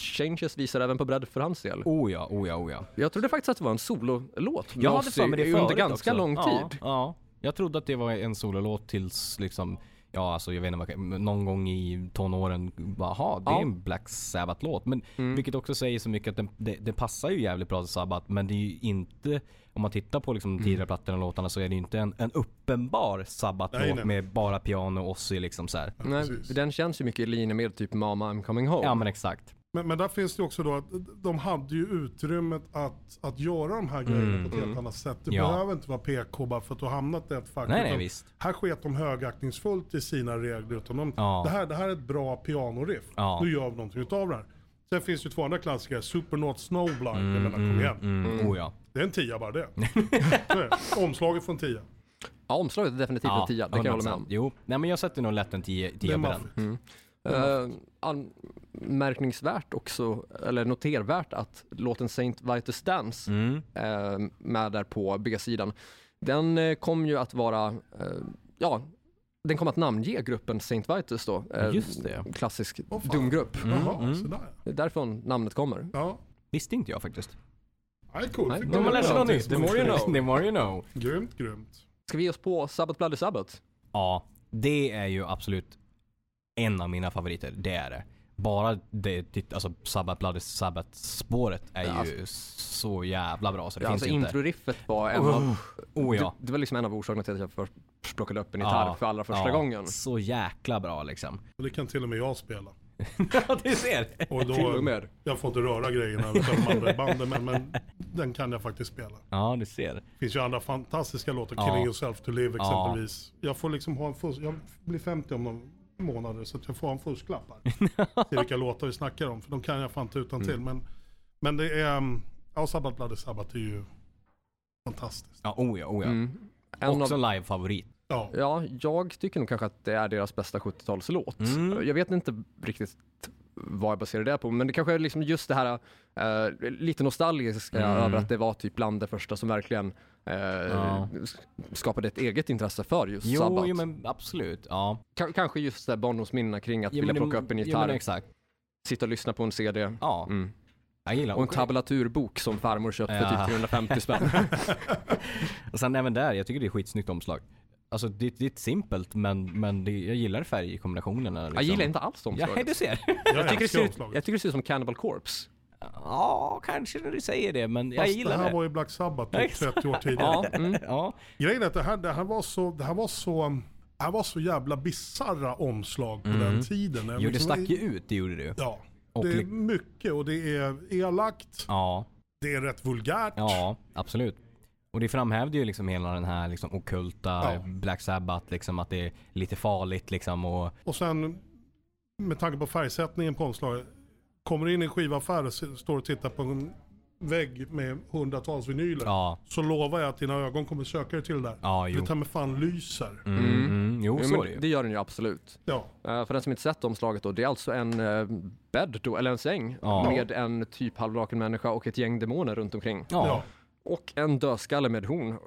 Changes visar även på bredd för hans del.
Oh ja, oh ja, oh ja.
Jag trodde faktiskt att det var en sololåt med
Jag hade
Ozzy
för mig det
under
förut
ganska
också.
lång
ja,
tid.
Ja, jag trodde att det var en sololåt tills liksom Ja, alltså jag vet inte, vad- någon gång i tonåren, bara, jaha, det är
Ja.
en Black Sabbath-låt. Men vilket också säger så mycket att den, det, det passar ju jävligt bra till Sabbath, men det är ju inte, om man tittar på liksom de tidigare plattorna och låtarna så är det ju inte en, en uppenbar
Nej,
Sabbath-låt
nej.
med bara piano och Ozzy liksom så här.
Nej,
precis.
den känns ju mycket i linje med typ Mama I'm coming home.
Ja men exakt.
Men, men där finns det ju också då att de hade ju utrymmet att, att göra de här grejerna på ett helt annat sätt. Du
Mm, Ja.
behöver inte vara PK bara för att du har hamnat i ett fack.
Nej, nej,
utan
visst.
Här sket de högaktningsfullt i sina regler. Utan de,
Ja.
det, här, det här är ett bra pianoriff.
Ja.
Nu gör vi någonting utav det här. Sen finns det ju två andra klassiker. Supernaut Snowblind. jag menar, kom igen.
Mm. Oh ja.
Det är en tia bara det. Så är det. Omslaget från tia.
Ja, omslaget är definitivt en tia, det kan jag hålla med om.
100%. Jo, nej men jag sätter nog lätt en 10 på
Det är
den.
maffigt.
Eh, anmärkningsvärt också, eller notervärt att låten St. Vitus Dance
Mm.
eh, med där på B-sidan, den eh, kom ju att vara, eh, ja, den kom att namnge gruppen St. Vitus då. Eh,
Just det.
Klassisk
Åh, fan.
doomgrupp.
Mm,
Jaha, sådär.
Det är därifrån namnet kommer.
Ja.
Visste inte jag faktiskt.
Ja, Det är coolt.
Nej,
Fick
men
man
man
reda
läser
på
något
någonting
nytt.
som
The
man
more you
inte-
know.
The more you know.
Grymt, grymt.
Ska vi ge oss på Sabbath Bloody Sabbath?
Ja, det är ju absolut en av mina favoriter. Det är det. Bara det, titt- alltså Sabbath Bloody Sabbath spåret är
Ja, alltså.
ju så jävla bra så det
Ja,
finns
alltså
ju inte.
introriffet var en av,
Oh ja.
det, det var liksom en av orsakerna till att jag först plockade upp en gitarr för allra första
ja,
gången.
Så jäkla bra liksom.
Och det kan till och med jag spela.
Ja, du ser.
Och då,
Till och med.
Jag får inte röra grejerna utan de andra banden, men, men den kan jag faktiskt spela.
Ja, du ser.
Det finns ju andra fantastiska låtar,
Ja.
Killing Yourself to Live
Ja.
exempelvis. Jag får liksom ha en fusk, jag blir 50 om några månader så att jag får ha en fusklapp här. Se vilka låtar vi snackar om, för de kan jag fan inte utan
Mm.
till. Men, men det är, um, ja Sabbath Bloody Sabbath är ju fantastiskt.
Ja, oh ja, oh ja.
Mm. En
Också
av,
en live-favorit.
Ja,
ja, jag tycker nog kanske att det är deras bästa 70-talslåt.
Mm.
Jag vet inte riktigt vad jag baserar det på, men det kanske är liksom just det här eh, lite nostalgiska
Mm.
över att det var typ bland det första som verkligen eh, sk- skapade ett eget intresse för just
Jo,
Sabbath.
jo, men absolut. Ja.
Ka- kanske just det här barndomsminnena kring att
Jo,
vilja
men det-
plocka upp en
Jo, men
gitarr,
exakt.
sitta och lyssna på en CD.
Ja.
Mm.
Jag gillar
Och en tabulaturbok som farmor köpte för
Ja.
typ 350 spänn.
Och sen även där, jag tycker det är skitsnyggt omslag. Alltså det, det är ett simpelt men, men det, jag gillar färgkombinationerna. Liksom.
Jag gillar inte alls
Ja, hej,
omslaget.
du ser.
jag, tycker det
älskar
ser ut,
omslaget.
jag tycker det ser ut som Cannibal Corpse.
ja, kanske när du säger det men jag
Fast det
gillar
här
det.
var ju Black Sabbath typ
Exakt.
30 år tidigare.
Ja, mm.
Ja,
Grejen är att det här, det här var så, det här var så, um, det här var så jävla bisarra omslag på den tiden.
Mm. jo det
Liksom,
stack ju ut, det gjorde det ju.
Ja.
Och
det är
li-
mycket och det är elakt,
Ja,
det är rätt vulgärt.
ja, absolut. Och det framhävde ju liksom hela den här liksom okulta
Ja.
Black Sabbath, liksom att det är lite farligt liksom och
Och sen med tanke på färgsättningen på omslaget, kommer du in i en skivaffär och s- står och tittar på en vägg med hundratals vinyler.
ja,
Så lovar jag att dina ögon kommer söka dig till det där.
ja jo.
Det tar mig fan lyser.
Mm, mm. Jo,
Jo,
så är det
men
ju.
det gör den ju absolut.
Ja.
Eh, för den som inte sett omslaget då, det är alltså en eh, bädd då, eller en säng
Ja.
med en typ halvlaken människa och ett gäng demoner runt omkring.
Ja,
ja.
Och en dödskalle med horn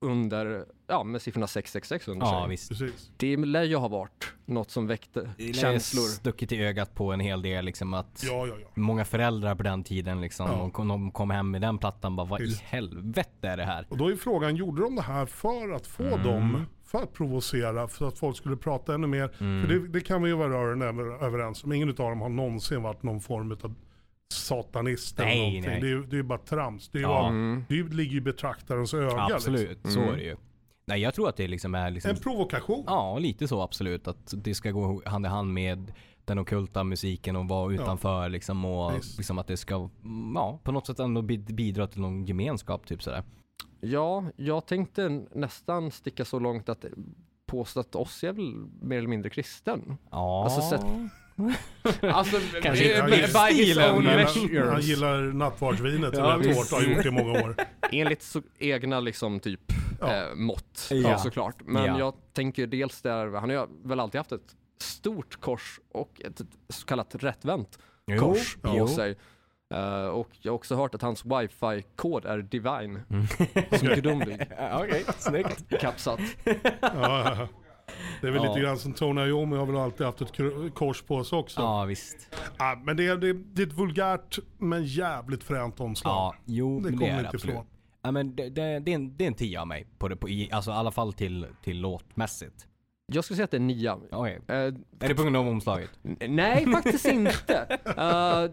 under, ja med siffrorna 666 under
ja
sig.
visst.
Precis.
Det lär ju ha varit något som väckte
Det lär ju
känslor.
Stuckit i ögat på en hel del liksom att
Ja, ja, ja.
många föräldrar på den tiden liksom.
Ja.
De, kom, de kom hem med den plattan bara vad
Visst.
i helvete är det här?
Och då är frågan, gjorde de det här för att få
Mm.
dem, för att provocera, för att folk skulle prata ännu mer?
Mm.
För det, det kan vi ju vara rörande över- överens om. Ingen av dem har någonsin varit någon form av satanist eller
Nej,
någonting.
nej.
Det är ju det är ju bara trams. Det, är ju
Ja. Mm.
bara, det är ju- ligger ju i betraktarens öga.
Absolut,
Liksom.
Mm.
så är det ju. Nej jag tror att det liksom är liksom,
En provokation.
ja lite så absolut att det ska gå hand i hand med den ockulta musiken och vara utanför liksom och
Visst.
liksom att det ska, mm, ja på något sätt ändå bi- bidra till någon gemenskap typ sådär.
Ja, jag tänkte nästan sticka så långt att påstå att oss är väl mer eller mindre kristen.
Ja.
Alltså, sett- Alltså,
Kanske
eh,
inte
by
just
his
stilen,
own
men-
measures.
Han gillar nattvardsvinet
Ja,
väldigt hårt
visst.
och har gjort det i många år.
Enligt så egna liksom typ
Ja.
eh, mått
Ja.
såklart. Men
Ja.
jag tänker dels där, han har ju väl alltid haft ett stort kors och ett så kallat rättvänt
Jo,
kors på
jo.
sig. Eh, och jag har också hört att hans wifi-kod är divine.
Mm.
Som gudomlig.
Ja, Okej, snyggt.
Kapsat.
Ja, ja. det är väl
Ja.
lite grann som Tony Iommi har väl alltid haft ett kr- kors på sig också.
Ja, visst.
Ah, men det är, det, är, det är ett vulgärt men jävligt fränt omslag.
Ja, jo,
Det
men det,
kommer
är det
inte
absolut.
ifrån.
Ja, men det, det, det, är en, det är en tia av mig. På det, på, i, alltså i alla fall till, till låtmässigt.
Jag skulle säga att det är nia.
Okej.
Eh,
Är det på grund av omslaget?
N- Nej, faktiskt inte. Eh,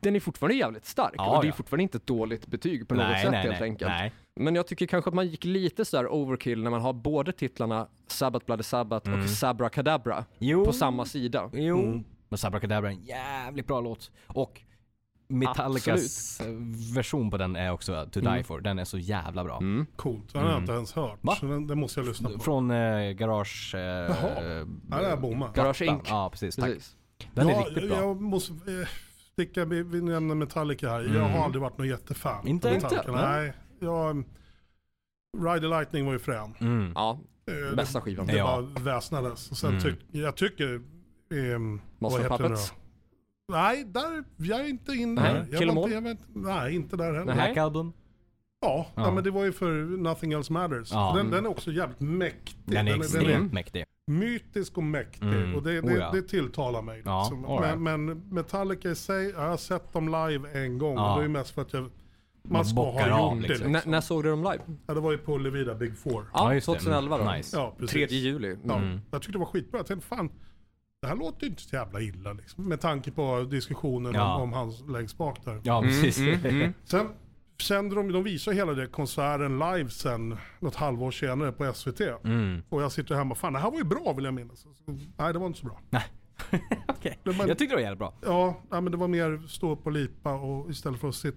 den är fortfarande jävligt stark
Ja,
och det är
ja.
fortfarande inte ett dåligt betyg på något
nej,
sätt
nej,
helt
nej,
enkelt.
nej.
Men jag tycker kanske att man gick lite så här overkill när man har både titlarna Sabbath Bloody Sabbath
Mm.
och Sabra Kadabra
Jo.
Oh.
på Mm. samma sida.
Jo. Men Sabrakadabra är en jävligt bra låt. Och Metallicas version på den är också To Die
Mm.
For. Den är så jävla bra.
Coolt, den har jag inte ens hört.
Mm. Va?
Så den, den måste jag lyssna på.
Från eh, Garage... Eh,
Jaha. Ja, det är bomma.
Garage Inc.
Ja, precis. Tack.
Precis.
Den är
Ja,
riktigt bra.
Jag måste eh, sticka, vi, vi nämner Metallica här. Jag har aldrig varit någon jättefan.
Mm. Inte?
av Metallica.
Inte?
Nej. Jag, mm, Ride the Lightning var ju frän.
Mm.
Ja,
Eh,
bästa skivan.
Det
Ja.
bara väsnades. Och sen
Mm.
tyck, jag tycker... ehm, vad
Master
heter det
Puppets?
då? Nej, där, jag är inte inne
Nej,
där. Jag
Kill 'em
var
All?
inte, jag vet, nej, inte där heller.
Nej.
Black Album.
Ja, ja.
Ja.
men det var ju för Nothing Else Matters.
Ja. Mm.
Den, den är också jävligt mäktig.
Den är
den är
extremt mäktig.
mytisk och mäktig.
Mm.
Och det,
Oh
det,
ja.
det tilltalar mig.
Ja,
liksom.
all right.
men, men Metallica i sig, jag har sett dem live en gång.
Ja.
Och det är ju mest för att jag, man,
Man
ska ha
bockar
gjort
av,
det.
liksom.
Liksom.
Mm. N- när såg du dem live?
Ja, det var ju på Levida Big Four.
Ja,
just det.
2011 då.
Nice.
Ja, precis.
3 juli. Mm.
Ja,
Mm.
Jag tyckte det var skitbra. Jag tänkte fan, det här låter ju inte så jävla illa liksom. Med tanke på diskussionen
Ja.
om, om han längst bak där.
Ja,
Mm,
precis.
Sen sände de, de visar hela det konserten live sen något halvår senare på SVT.
Mm.
Och jag sitter hemma och fan det här var ju bra vill jag minnas. Så, nej det var inte så bra.
Okej.
Men man-
Jag tyckte det var jävligt bra.
Ja, nej, men det var mer stå upp och lipa och istället för att sitta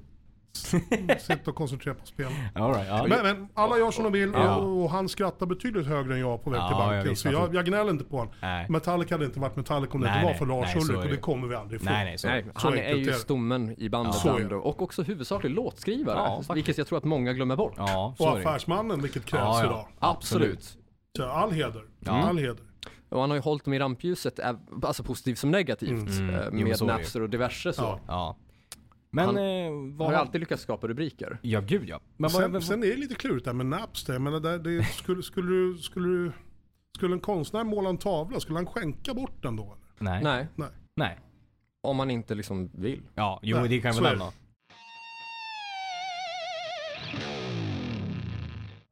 sitta och koncentrera på spel.
All right, ja.
Men, men alla gör som de vill
Ja.
och, och han skrattar betydligt högre än jag på väg
Ja,
till
ja,
banken.
visst,
så jag,
absolut.
jag gnäller inte på honom.
Nej.
Metallica hade inte varit Metallica om det
Nej,
inte var
nej,
för Lars
nej, så
Ulrik
är
och
det
det
ju.
kommer vi aldrig ifrån.
Nej, nej. Så.
Nej,
Så
han är
enkelt är
ju
det.
stommen i bandet
Så är det.
ändå, och också huvudsaklig låtskrivare,
Ja, faktiskt.
vilket jag tror att många glömmer bort.
Ja,
Och
så är det.
affärsmannen, vilket krävs
Ja, ja.
idag.
Absolut.
Så all heder. All heder.
Och han har ju hållit dem i rampljuset, äv- alltså positivt som negativt, eh,
Mm. Jo,
med
så är det ju.
Napster och diverse så.
Mm. Ja.
Ja. Men
Han-
eh,
Har
vad...
ju alltid lyckats skapa rubriker.
Ja, gud ja. Men vad...
Sen, sen är det lite klurigt där med Napster. Men det, där, det skulle, skulle, du- skulle, du- skulle en konstnär måla en tavla, skulle han skänka bort den då? Eller?
nej. nej.
Nej,
Nej.
Nej.
om man inte liksom vill.
Ja, jo
Nej,
det kan jag
så
väl
är det.
nämna.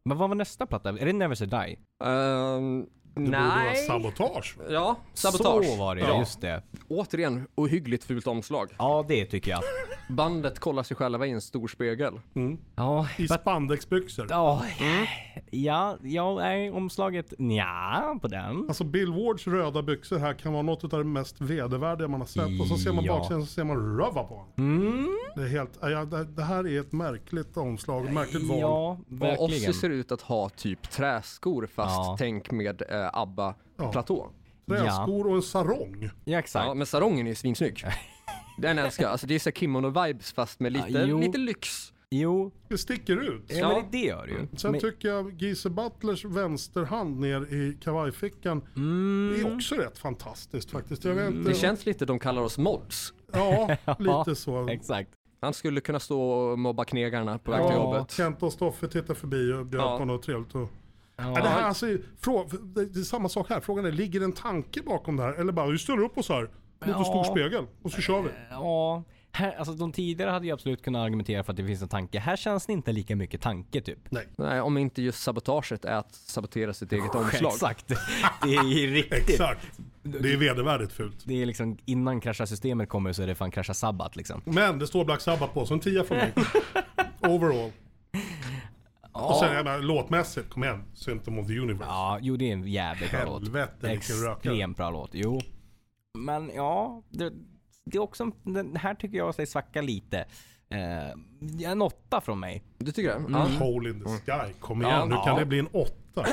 Men vad var nästa platta? Är det Never Say Die?
Ehm,
Det borde vara
nej.
sabotage. va?
Ja, sabotage.
Så var det
Ja.
ja. just det.
Återigen, ohyggligt fult omslag.
Ja, det tycker jag.
Bandet kollar sig själva i en stor spegel.
Ja,
I spandexbyxor.
ja, ja, ja, nej, omslaget, nja, på den.
Alltså Bill Wards röda byxor här kan vara något av det mest vedervärdiga man har sett. Och så ser man
Ja.
baksidan så ser man röva på honom.
Mm.
Det, är helt, ja, det det här är ett märkligt omslag, märkligt val.
Ja,
Och Ozzy
verkligen.
ser ut att ha typ träskor fast
Ja.
tänk med eh, ABBA-platå.
Träskor och en sarong.
Ja,
Ja.
exakt.
men sarongen är ju svinsnygg. Den älskar jag. Alltså det är såhär kimono-vibes fast med lite,
Ja, jo.
lite lyx.
Jo,
Det sticker ut.
ja.
Ja.
men det gör det ju.
Sen typ-
men,
tycker jag Giese Butlers vänsterhand ner i kavajfickan är också rätt fantastiskt faktiskt. Jag vet inte.
Det känns lite de kallar oss mods.
Ja,
Ja,
lite så.
Exakt.
Han skulle kunna stå och mobba knegarna på väg till
Ja.
jobbet.
Kent och Stoffe tittar förbi och bjöd
Ja.
på något trevligt. Och... Ja, det, här, alltså, frå... det det är samma sak här. Frågan är, ligger det en tanke bakom det här? Eller bara, vi ställer upp oss här mot en stor
Ja.
spegel och så kör vi.
Ja, här, alltså de tidigare hade ju absolut kunnat argumentera för att det finns en tanke. Här känns det inte lika mycket tanke typ.
Nej.
Nej, om inte just sabotaget är att sabotera sitt eget omslag.
Exakt. Det är ju riktigt.
Exakt. Det är vedervärdigt fult.
Det är liksom innan krascha systemet kommer så är det fan krascha sabbat liksom.
Men det står Black Sabbath på, så en tia från mig. Overall. Och sen, jag menar, låtmässigt, kom igen. Symptom of the Universe.
Ja, jo det är en jävligt bra låt.
Helvete vilken rökare.
Extremt bra låt, jo. Men ja, det, det är också, en- den här tycker jag sig svacka lite. Eh, en åtta från mig.
Du tycker det?
Mm.
Hole in the sky, kom igen.
Ja,
nu
ja.
kan det bli en åtta.
Ja,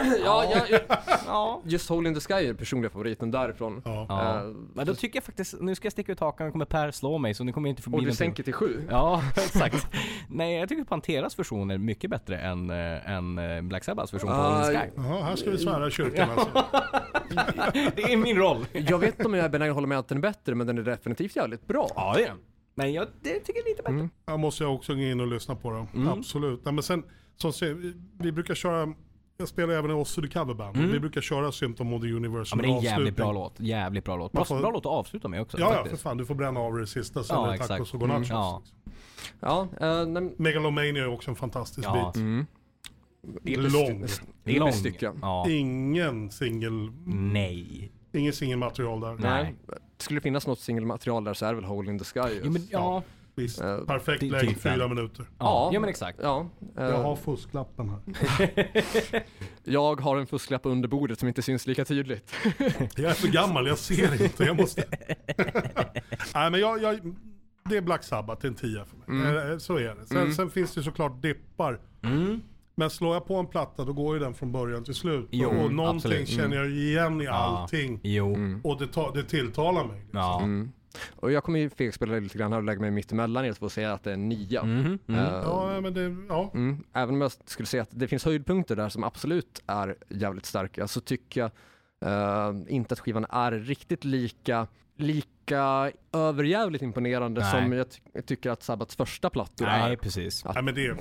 ja,
Ja.
just Hole in the Sky är personliga favoriten därifrån.
Ja.
ja.
Eh,
Men då tycker jag faktiskt, nu ska jag sticka ut hakan, nu kommer Per slå mig så nu kommer jag inte förbi
Och du
någonting.
sänker till sju.
Ja, exakt. Nej, jag tycker Panteras version är mycket bättre än, eh, än eh, Black Sabbaths version på Hole in the Sky.
Jaha, här ska vi svära i kyrkan alltså.
Det är min roll.
Jag vet inte om jag är benägen att hålla med att den är bättre, men den är definitivt jävligt bra.
Ja, det är den. Mm. Men jag det tycker jag är lite bättre.
Jag måste jag också gå in och lyssna på dem.
Mm.
Absolut. Nej, men sen, som sagt, vi- vi brukar köra, jag spelar även i Ozzy the Coverband. Vi brukar köra Symptom of the Universe
Mm. Ja, men det är en jävligt bra
avslutning.
låt. Jävligt bra låt. Bra,
får-
bra låt att avsluta med också.
Ja, ja, för
faktiskt.
fan. Du får bränna av det sista sen
Ja,
ja,
exakt.
tacos och gonachos.
Mm, ja.
Ja, eh, nej,
Megalomania är också en fantastisk
Ja. Mm.
bit.
det är
Lång.
besti- det är
Lång.
bestycka.
Ja.
Ingen singel,
Nej.
ingen singelmaterial där.
Nej.
Nej. Skulle det finnas något singelmaterial där så är det väl Hole in the Sky. just.
Ja, men, ja.
Visst.
Eh,
Perfekt
ty-
läge,
typ
fyra
den.
minuter.
Ja. ja, men exakt.
Ja, eh,
Jag har fusklappen här.
Jag har en fusklapp under bordet som inte syns lika tydligt.
Jag är för gammal, jag ser inte. Jag måste... Nej, men jag, jag, det är Black Sabbath, en 10 för mig. Eh, Så är det. Sen, sen finns det såklart dippar.
Mm.
Men slår jag på en platta då går ju den från början till slut.
Jo,
och någonting
absolut.
känner jag igen i allting.
Jo.
Och det, ta, det tilltalar mig.
Ja.
Mm.
Och jag kommer ju fegspela lite grann här och lägga mig mitt emellan er två och säga att det är en
Mm.
nia.
Mm.
Eh,
Ja, men det, ja.
Mm. Även om jag skulle säga att det finns höjdpunkter där som absolut är jävligt starka så tycker jag eh, inte att skivan är riktigt lika, lika överjävligt imponerande
Nej.
som jag, ty- jag tycker att Sabbats första plattor
Nej,
är.
precis.
Nej, men det,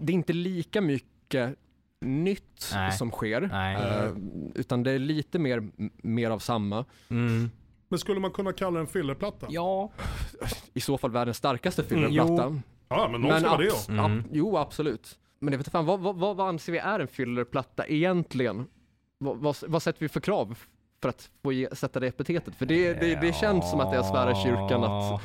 Det är inte lika mycket nytt
Nej.
som sker.
Nej.
eh, utan det är lite mer, m- mer av samma.
Mm.
men skulle man kunna kalla den fillerplatta? Ja.
Ja.
I så fall världens starkaste
Mm, jo.
fillerplatta.
men någon ska vara det ja. Mm.
abs- ab- Jo, absolut. Men jag vet inte fan, vad, vad, vad vad anser vi är en fyllerplatta egentligen? Vad, vad, vad sätter vi för krav för att få ge, sätta det epitetet? För det, det, det känns som att det är att svära i kyrkan att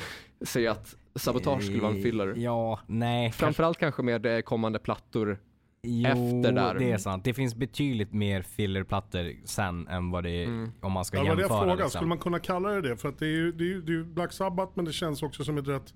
säga att sabotage skulle vara en
Eh,
fyller.
Ja, nej.
Framförallt kanske med eh, kommande plattor.
Jo,
efter där.
det är sant. Det finns betydligt mer fillerplattor sen än vad det är om man ska
Ja, det var det jag
jämföra.
frågade. Skulle
liksom.
man kunna kalla det det? För att det är ju, det är ju, det är ju Black Sabbath men det känns också som ett rätt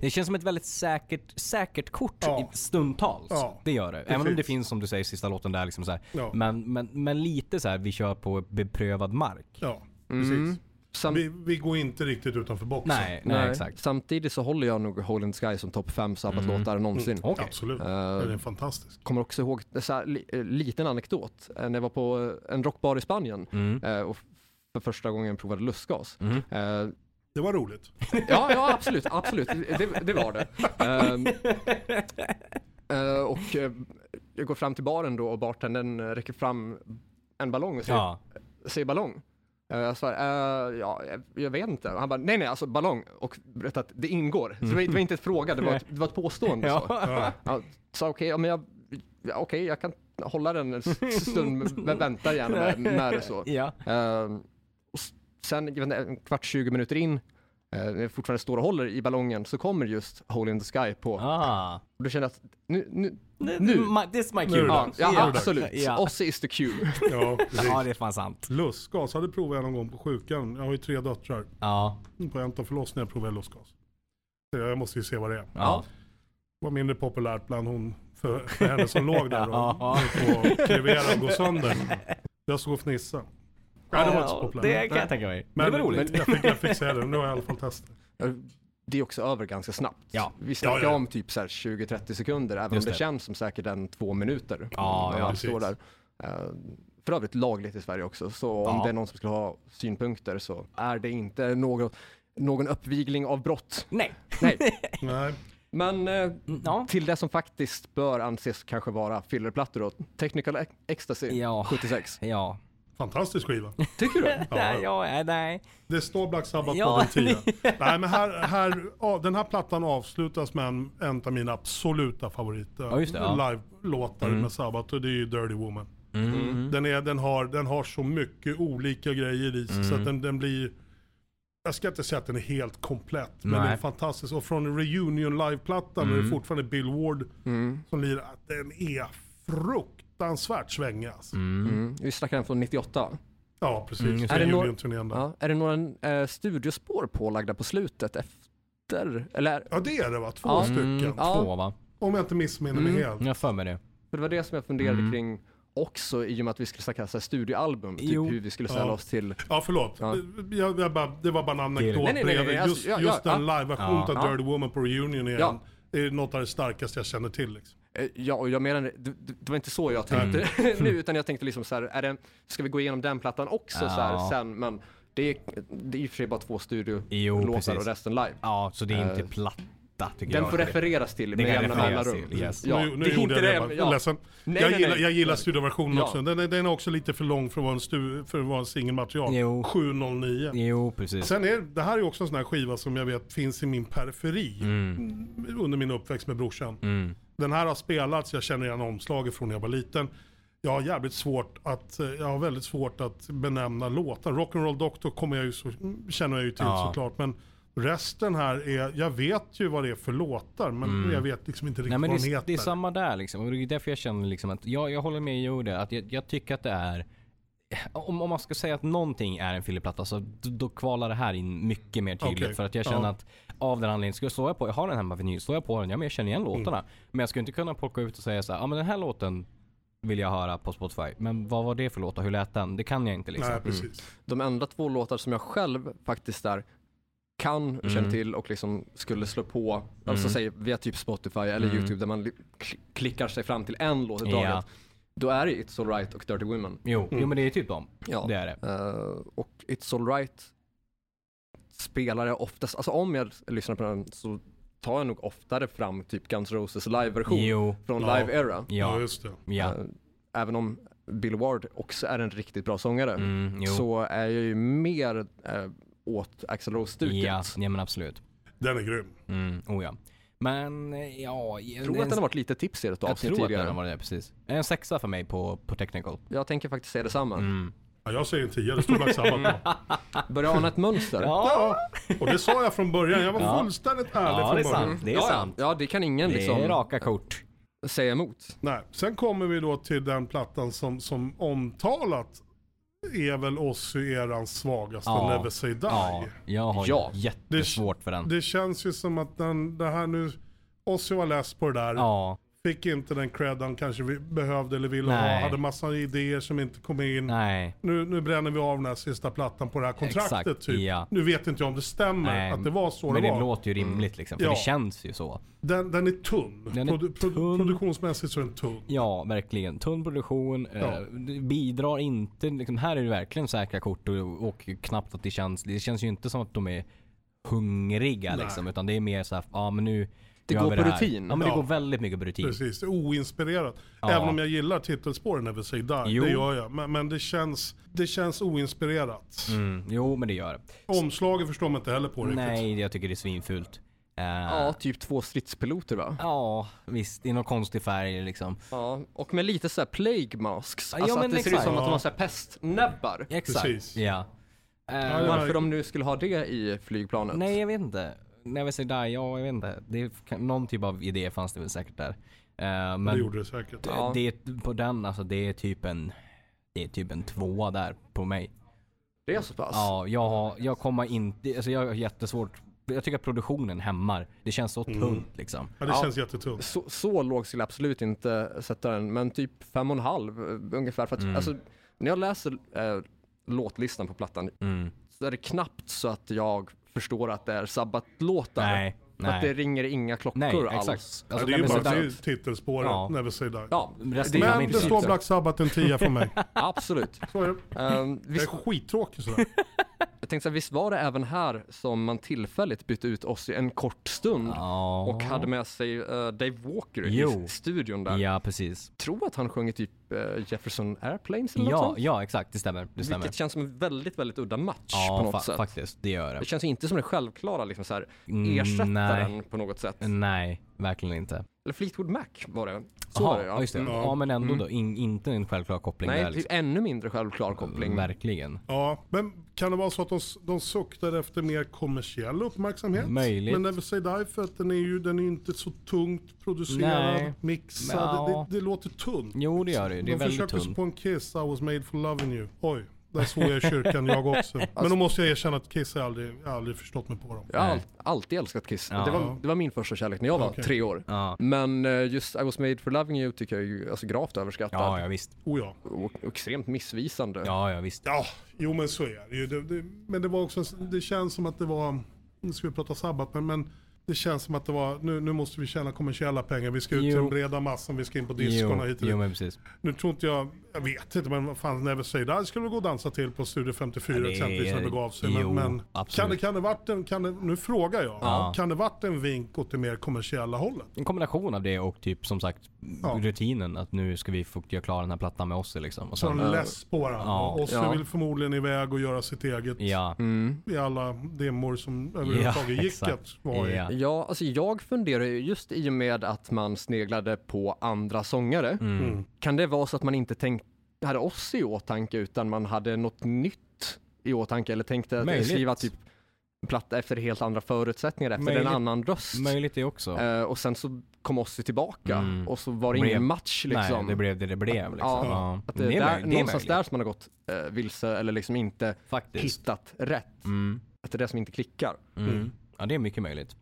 Det känns som ett väldigt säkert, säkert kort
Ja.
i- stundtals.
Ja,
Det gör det. Även om det
precis.
finns som du säger sista låten där liksom så här.
Ja.
Men, men, men lite så här, vi kör på beprövad mark.
Ja,
Mm.
precis.
Mm. Sam-
Vi, vi går inte riktigt utanför boxen.
Nej, nej, exakt.
Samtidigt så håller jag nog Hole in the Sky som topp 5 sabbatlåtar
Mm.
någonsin.
Okej. Eh.
Absolut. Den är fantastisk.
kommer också ihåg en så här, li, eh, liten anekdot. Eh, När jag var på eh, en rockbar i Spanien
Mm.
eh, och f- för första gången provade lustgas. Eh,
Det var roligt.
Ja, ja absolut, absolut. Det, det var det. Ehm, eh, och eh, jag går fram till baren då och bartendern eh, räcker fram en ballong och säger,
Ja.
säger ballong. Eh, Jag svarar, eh, ja, jag- jag vet inte. Han bara, nej nej, alltså ballong. Och berättar att det ingår. Så det var, det var inte en fråga, det var ett, det var ett påstående. Så.
Ja.
Jag sa okej, ja, men jag, ja, okej, jag kan hålla den en s- stund, men vänta gärna med, med det så.
Ja.
Ehm, och s- sen jag vet inte, en kvart, 20 minuter in, eh, när jag fortfarande står och håller i ballongen, så kommer just Hole in the Sky på.
Ah.
Och då kände jag att nu, nu,
Nu.
nu.
This my
Nu är
cue.
Ja,
det dags.
ja,
Nu är det dags.
absolut.
Ja.
Ozzy is the cue.
Ja, precis.
Ja, det är fan sant.
Lustgas hade provat jag någon gång på sjukan. Jag har ju tre döttrar.
Ja.
På en av förlossningarna provade jag lustgas. Så Jag måste ju se vad det är.
Ja.
Det var mindre populärt bland hon, för, för henne som låg där och
Ja.
höll på att krevera och gå sönder. Jag stod och fnissade. Nej, det var inte så populärt.
det kan jag tänka mig. Men, det var roligt.
Men jag, fick, jag fick säga det, nu har jag i alla fall testat.
Det är också över ganska snabbt.
Ja.
Vi snackar
Ja, ja, ja.
om typ så här 20-30 sekunder, även
Just
om det,
det.
känns som säkert en två minuter.
Ja,
när
ja,
man står där.
precis.
Eh, För övrigt lagligt i Sverige också, så om
Ja.
det är någon som skulle ha synpunkter så är det inte något, någon uppvigling av brott.
Nej.
Nej.
Nej,
Men eh,
Ja.
till det som faktiskt bör anses kanske vara fillerplattor då. Technical Ec- Ecstasy
Ja.
76.
Ja.
fantastisk skiva.
Tycker du?
Nej, ja, nej, nej.
Det står Black Sabbath
Ja.
på den 10. Nej men här, här, ja, den här plattan avslutas med en, en av mina absoluta favoriter.
Ja, just det, ja. Mm.
Live-låtar med Sabbath och det är ju Dirty Woman. Den, är, den, har, den har så mycket olika grejer i sig så
Mm.
att den, den blir, jag ska inte säga att den är helt komplett men
Nej.
den är fantastisk. Och från Reunion Live-plattan mm. är det fortfarande Bill Ward
Mm,
som lirar, att den är fruktansvärt svängig alltså.
Mm. Vi snackar den från 98.
Ja precis,
Mm, just
det. Är det några-
Reunion-turnén där.
Ja. Är det några eh, studiospår pålagda på slutet efter britter, eller?
Ja det är det va? Två
Ja.
Mm.
stycken.
Ja. Mm.
Två va?
Om jag inte missminner mig helt.
Jag har för mig det.
För det var det som jag funderade kring också i och med att vi skulle snacka så här studioalbum, typ
Jo.
hur vi skulle ställa
Ja.
oss till.
Ja förlåt.
Ja.
Jag, jag bara, det var bara en anekdot
Nej, nej, nej, nej,
bredvid.
alltså,
Just,
ja,
just
ja,
den live-versionen
Ja.
av
Ja.
Dirty Woman på Reunion igen.
Ja.
Det är något av det starkaste jag känner till. Liksom.
Eh, Ja, och jag menar, det, det det var inte så jag
Mm.
tänkte nu, utan jag tänkte liksom så här, är det, ska vi gå igenom den plattan också så här
Ja.
sen? Men det är, det är i och för sig bara två
Jo,
studiolåtar och
precis.
resten live.
Ja, så det är inte
Eh,
platta tycker jag.
Den får refereras till med
kan
jämna
refereras
mellanrum.
till, yes.
Ja,
nu nu
det är
gjorde
inte
jag det, bara.
ja.
ledsen.
Nej,
jag,
nej,
gillar,
nej.
jag gillar studioversionen
Ja.
också. Den, den är också lite för lång för att vara en, stu, för att vara en singelmaterial.
Jo.
709.
Jo, precis.
Sen är det här är ju också en sån här skiva som jag vet finns i min periferi
Mm.
under min uppväxt med brorsan. Den här har spelats, jag känner igen omslaget från när jag var liten. Jag har jävligt svårt att, eh, jag har väldigt svårt att benämna låtar. Rock'n'Roll Doctor kommer jag ju så, känner jag ju till
Ja.
såklart. Men resten här är, jag vet ju vad det är för låtar men jag vet liksom inte riktigt
Mm. Nej, men
vad den
det, är-
heter.
det är samma där liksom. Och det är därför jag känner liksom att jag, jag håller med Joe där. Att jag, jag tycker att det är... Om, om man ska säga att någonting är en fillerplatta så då, då kvalar det här in mycket mer tydligt.
Okej,
För att jag känner
ja.
att av den anledningen, skulle slår jag på, jag har den hemma vinyl, slår jag på den, ja men jag känner
Mm.
igen låtarna. Men jag skulle inte kunna plocka ut och säga så här, ja men den här låten vill jag höra på Spotify. Men vad var det för låt och hur lät den? Det kan jag inte liksom.
Nej, precis.
De enda två låtar som jag själv faktiskt där kan,
Mm.
känner till och liksom skulle slå på, alltså säg via typ Spotify eller YouTube där man li- kl- klickar sig fram till en låt i
Mm. Ja.
taget. Då är det It's Alright och Dirty Women.
Jo,
Mm.
jo men det är typ dem.
Ja.
Det är det.
Eh, och It's Alright spelar jag oftast, alltså om jag lyssnar på den så tar jag nog oftare fram typ Guns Roses live-version
Jo,
från
Ja.
Live Era.
Ja.
ja,
just det.
ja.
Eh, Även om Bill Ward också är en riktigt bra sångare
Mm, jo.
så är jag ju mer eh, åt Axl Rose-stuket.
Ja, ja men absolut.
Den är grym.
Mm, oh ja. Men eh, ja...
Jag tror att den har varit lite tips i ett
Jag
avsnitt
tror att den
tidigare.
har varit det, precis. En sexa för mig på, på technical.
Jag tänker faktiskt säga detsamma.
Mm.
Ja, jag säger en tia, det står Black Sabbath på.
Börjar ana ett mönster.
Ja, och det sa jag från början. Jag var fullständigt ärlig
Ja,
från
det är
början.
sant. Det är
ja,
sant.
Ja, det kan ingen
Det är
liksom,
raka kort.
säga emot.
Nej. Sen kommer vi då till den plattan som, som omtalat är väl Ozzy-erans svagaste,
Ja.
Never Say Die.
Ja, jag har
Ja.
jättesvårt för den.
Det känns ju som att den, det här nu, Ozzy var less på det där.
Ja,
Fick inte den cred han kanske vi- behövde eller ville
Nej.
ha. Hade massa idéer som inte kom in.
nej.
Nu, nu bränner vi av den här sista plattan på det här kontraktet
Exakt,
typ.
ja.
Nu vet inte jag om det stämmer
nej.
att det var så
Men det
var.
låter ju rimligt liksom. För
Ja.
det känns ju så.
Den, den är tunn.
Den är
Produ- pro-
tunn.
Produktionsmässigt så är den tunn.
Ja, verkligen. Tunn produktion.
Ja.
Eh, det bidrar inte. Liksom, här är det verkligen säkra kort och, och knappt att det känns. Det känns ju inte som att de är hungriga
Nej.
liksom. Utan det är mer så här, ja men nu
Det
gör
går
vi
på
här.
rutin.
Ja men
Ja.
det går väldigt mycket på rutin.
Precis, det är oinspirerat.
Ja.
Även om jag gillar titelspåren Never Say Die,
Jo.
det gör jag. Men, men det, känns, det känns oinspirerat.
Mm, jo men det gör det.
Omslaget förstår man inte heller på riktigt.
Nej, jag tycker det är svinfult. Eh,
Ja, typ två stridspiloter va?
ja, visst. I någon konstig färg liksom.
Ja, och med lite såhär plague masks.
Ja,
Alltså att
men
det ser ut
exakt.
som att de
Ja.
har såhär pestnäbbar.
Exakt.
Precis.
Ja. Eh,
Ja, ja.
Varför de nu skulle ha det i flygplanet.
Nej, jag vet inte. När vi säger där, ja, jag vet inte. Det, kan- någon typ av idé fanns det väl säkert där. Eh, men
Det gjorde det säkert.
Ja.
Eh, det, är- på den, alltså det är typ en... Det är typ en tvåa där på mig.
Det är så pass?
Ja, jag, har- jag kommer inte... Alltså jag har jättesvårt. Jag tycker att produktionen hämmar. Det känns så
Mm.
tungt liksom.
Ja, det
Ja.
känns jättetungt.
Så, så låg skulle jag absolut inte sätta den, men typ fem och en halv eh, ungefär. För att,
Mm.
alltså, när jag läser eh, låtlistan på plattan
Mm.
så är det knappt så att jag förstår att det är Sabbat-låtar.
Nej,
För att
nej.
det ringer inga klockor
Nej,
alls.
exakt. Alltså,
det är
när vi
ju bara
säger där-
det är ju titelspåret
Ja.
Never Say Die.
Ja,
Resten
det är
kan vi
Men
inte
det
inte
så
står
mycket.
Black Sabbath en tia för mig.
Absolut.
Så är det.
Ehm,
Jag är
visst,
skittråkig sådär.
jag tänkte så här, visst var det även här som man tillfälligt bytte ut oss i en kort stund
Ja.
och hade med sig eh, Dave Walker
Jo.
i studion där.
Ja, precis.
tror att han sjöng i typ eh, Jefferson Airplanes eller något
Ja,
sånt.
ja exakt. Det stämmer. Det stämmer.
Vilket känns som en väldigt, väldigt udda match
ja,
på något
fa-
sätt.
faktiskt. Det gör
Det
det.
känns ju inte som den självklara liksom, så här,
Mm,
ersättaren
nej.
på något sätt.
Nej, verkligen inte.
Eller Fleetwood Mac var det. Så
Aha,
var det
ja. just det.
Mm.
Ja, men ändå då. In, inte en självklar koppling
Nej,
där. liksom.
det är ännu mindre självklar
Mm,
koppling.
Verkligen.
Ja, men kan det vara så att de, de suktar efter mer kommersiell uppmärksamhet?
Möjligt.
Men Never Say Die för att den är ju den är ju inte så tungt producerad,
Nej.
mixad.
Ja.
Det, det, det låter tunt.
Jo, det gör det ju. Det är
de
väldigt
försökte sig
tunt.
på en kiss, I was made for loving you. Oj, Där såg jag i kyrkan jag också.
Alltså-
Men då måste jag erkänna att Kiss har jag aldrig, jag har aldrig förstått mig på dem.
Jag har all, alltid älskat Kiss.
Ja.
Det, var, det var min första kärlek när jag var
Okej.
tre år.
Ja,
Men eh, just I was made for loving you tycker jag är ju alltså, gravt överskattad.
ja, ja visst.
Oh ja.
Och, och extremt missvisande.
Ja, ja visst.
Ja, jo men så är det ju. Det, det, men det var också, en s- det känns som att det var, nu ska vi prata sabbat, men, men det känns som att det var, nu, nu måste vi tjäna kommersiella pengar, vi ska ut till
Jo.
den breda massan, vi ska in på diskorna hit
jo
och dit.
men precis.
Nu tror inte jag, jag vet inte, men vad fan Never Say Die skulle väl gå och dansa till på Studio 54
Ja, det är-
exempelvis när det begav sig. Men,
jo,
men kan,
absolut.
det, kan det varit en, kan det, nu frågar jag,
Ja.
kan det varit en vink åt det mer kommersiella hållet?
En kombination av det och typ som sagt
Ja.
rutinen att nu ska vi få göra klar den här plattan med oss liksom. Och
Så de
sen,
less på varandra.
ja,
och så
ja.
vill förmodligen iväg och göra sitt eget
ja,
Mm.
i alla demor som överhuvudtaget gick
exakt.
att vara i.
Ja.
Ja, alltså jag funderar ju just i och med att man sneglade på andra sångare.
Mm.
Mm.
Kan det vara så att man inte tänkt, hade oss i åtanke utan man hade något nytt i åtanke eller tänkte att
Möjligt.
skriva typ en platta efter helt andra förutsättningar, efter
Möjligt.
en annan röst.
möjligt det också.
Eh, och sen så kom Ossi tillbaka
Mm.
och så var det
Blev-
ingen match liksom.
Nej, det blev det det blev liksom.
Ja,
Ja.
Att
Det
det,
är
där,
möjligt, det är
någonstans
möjligt.
där som man har gått eh, vilse eller liksom inte
Faktiskt.
hittat rätt.
Mm.
Att det är det som inte klickar.
Mm.
Mm.
Ja, det är mycket möjligt.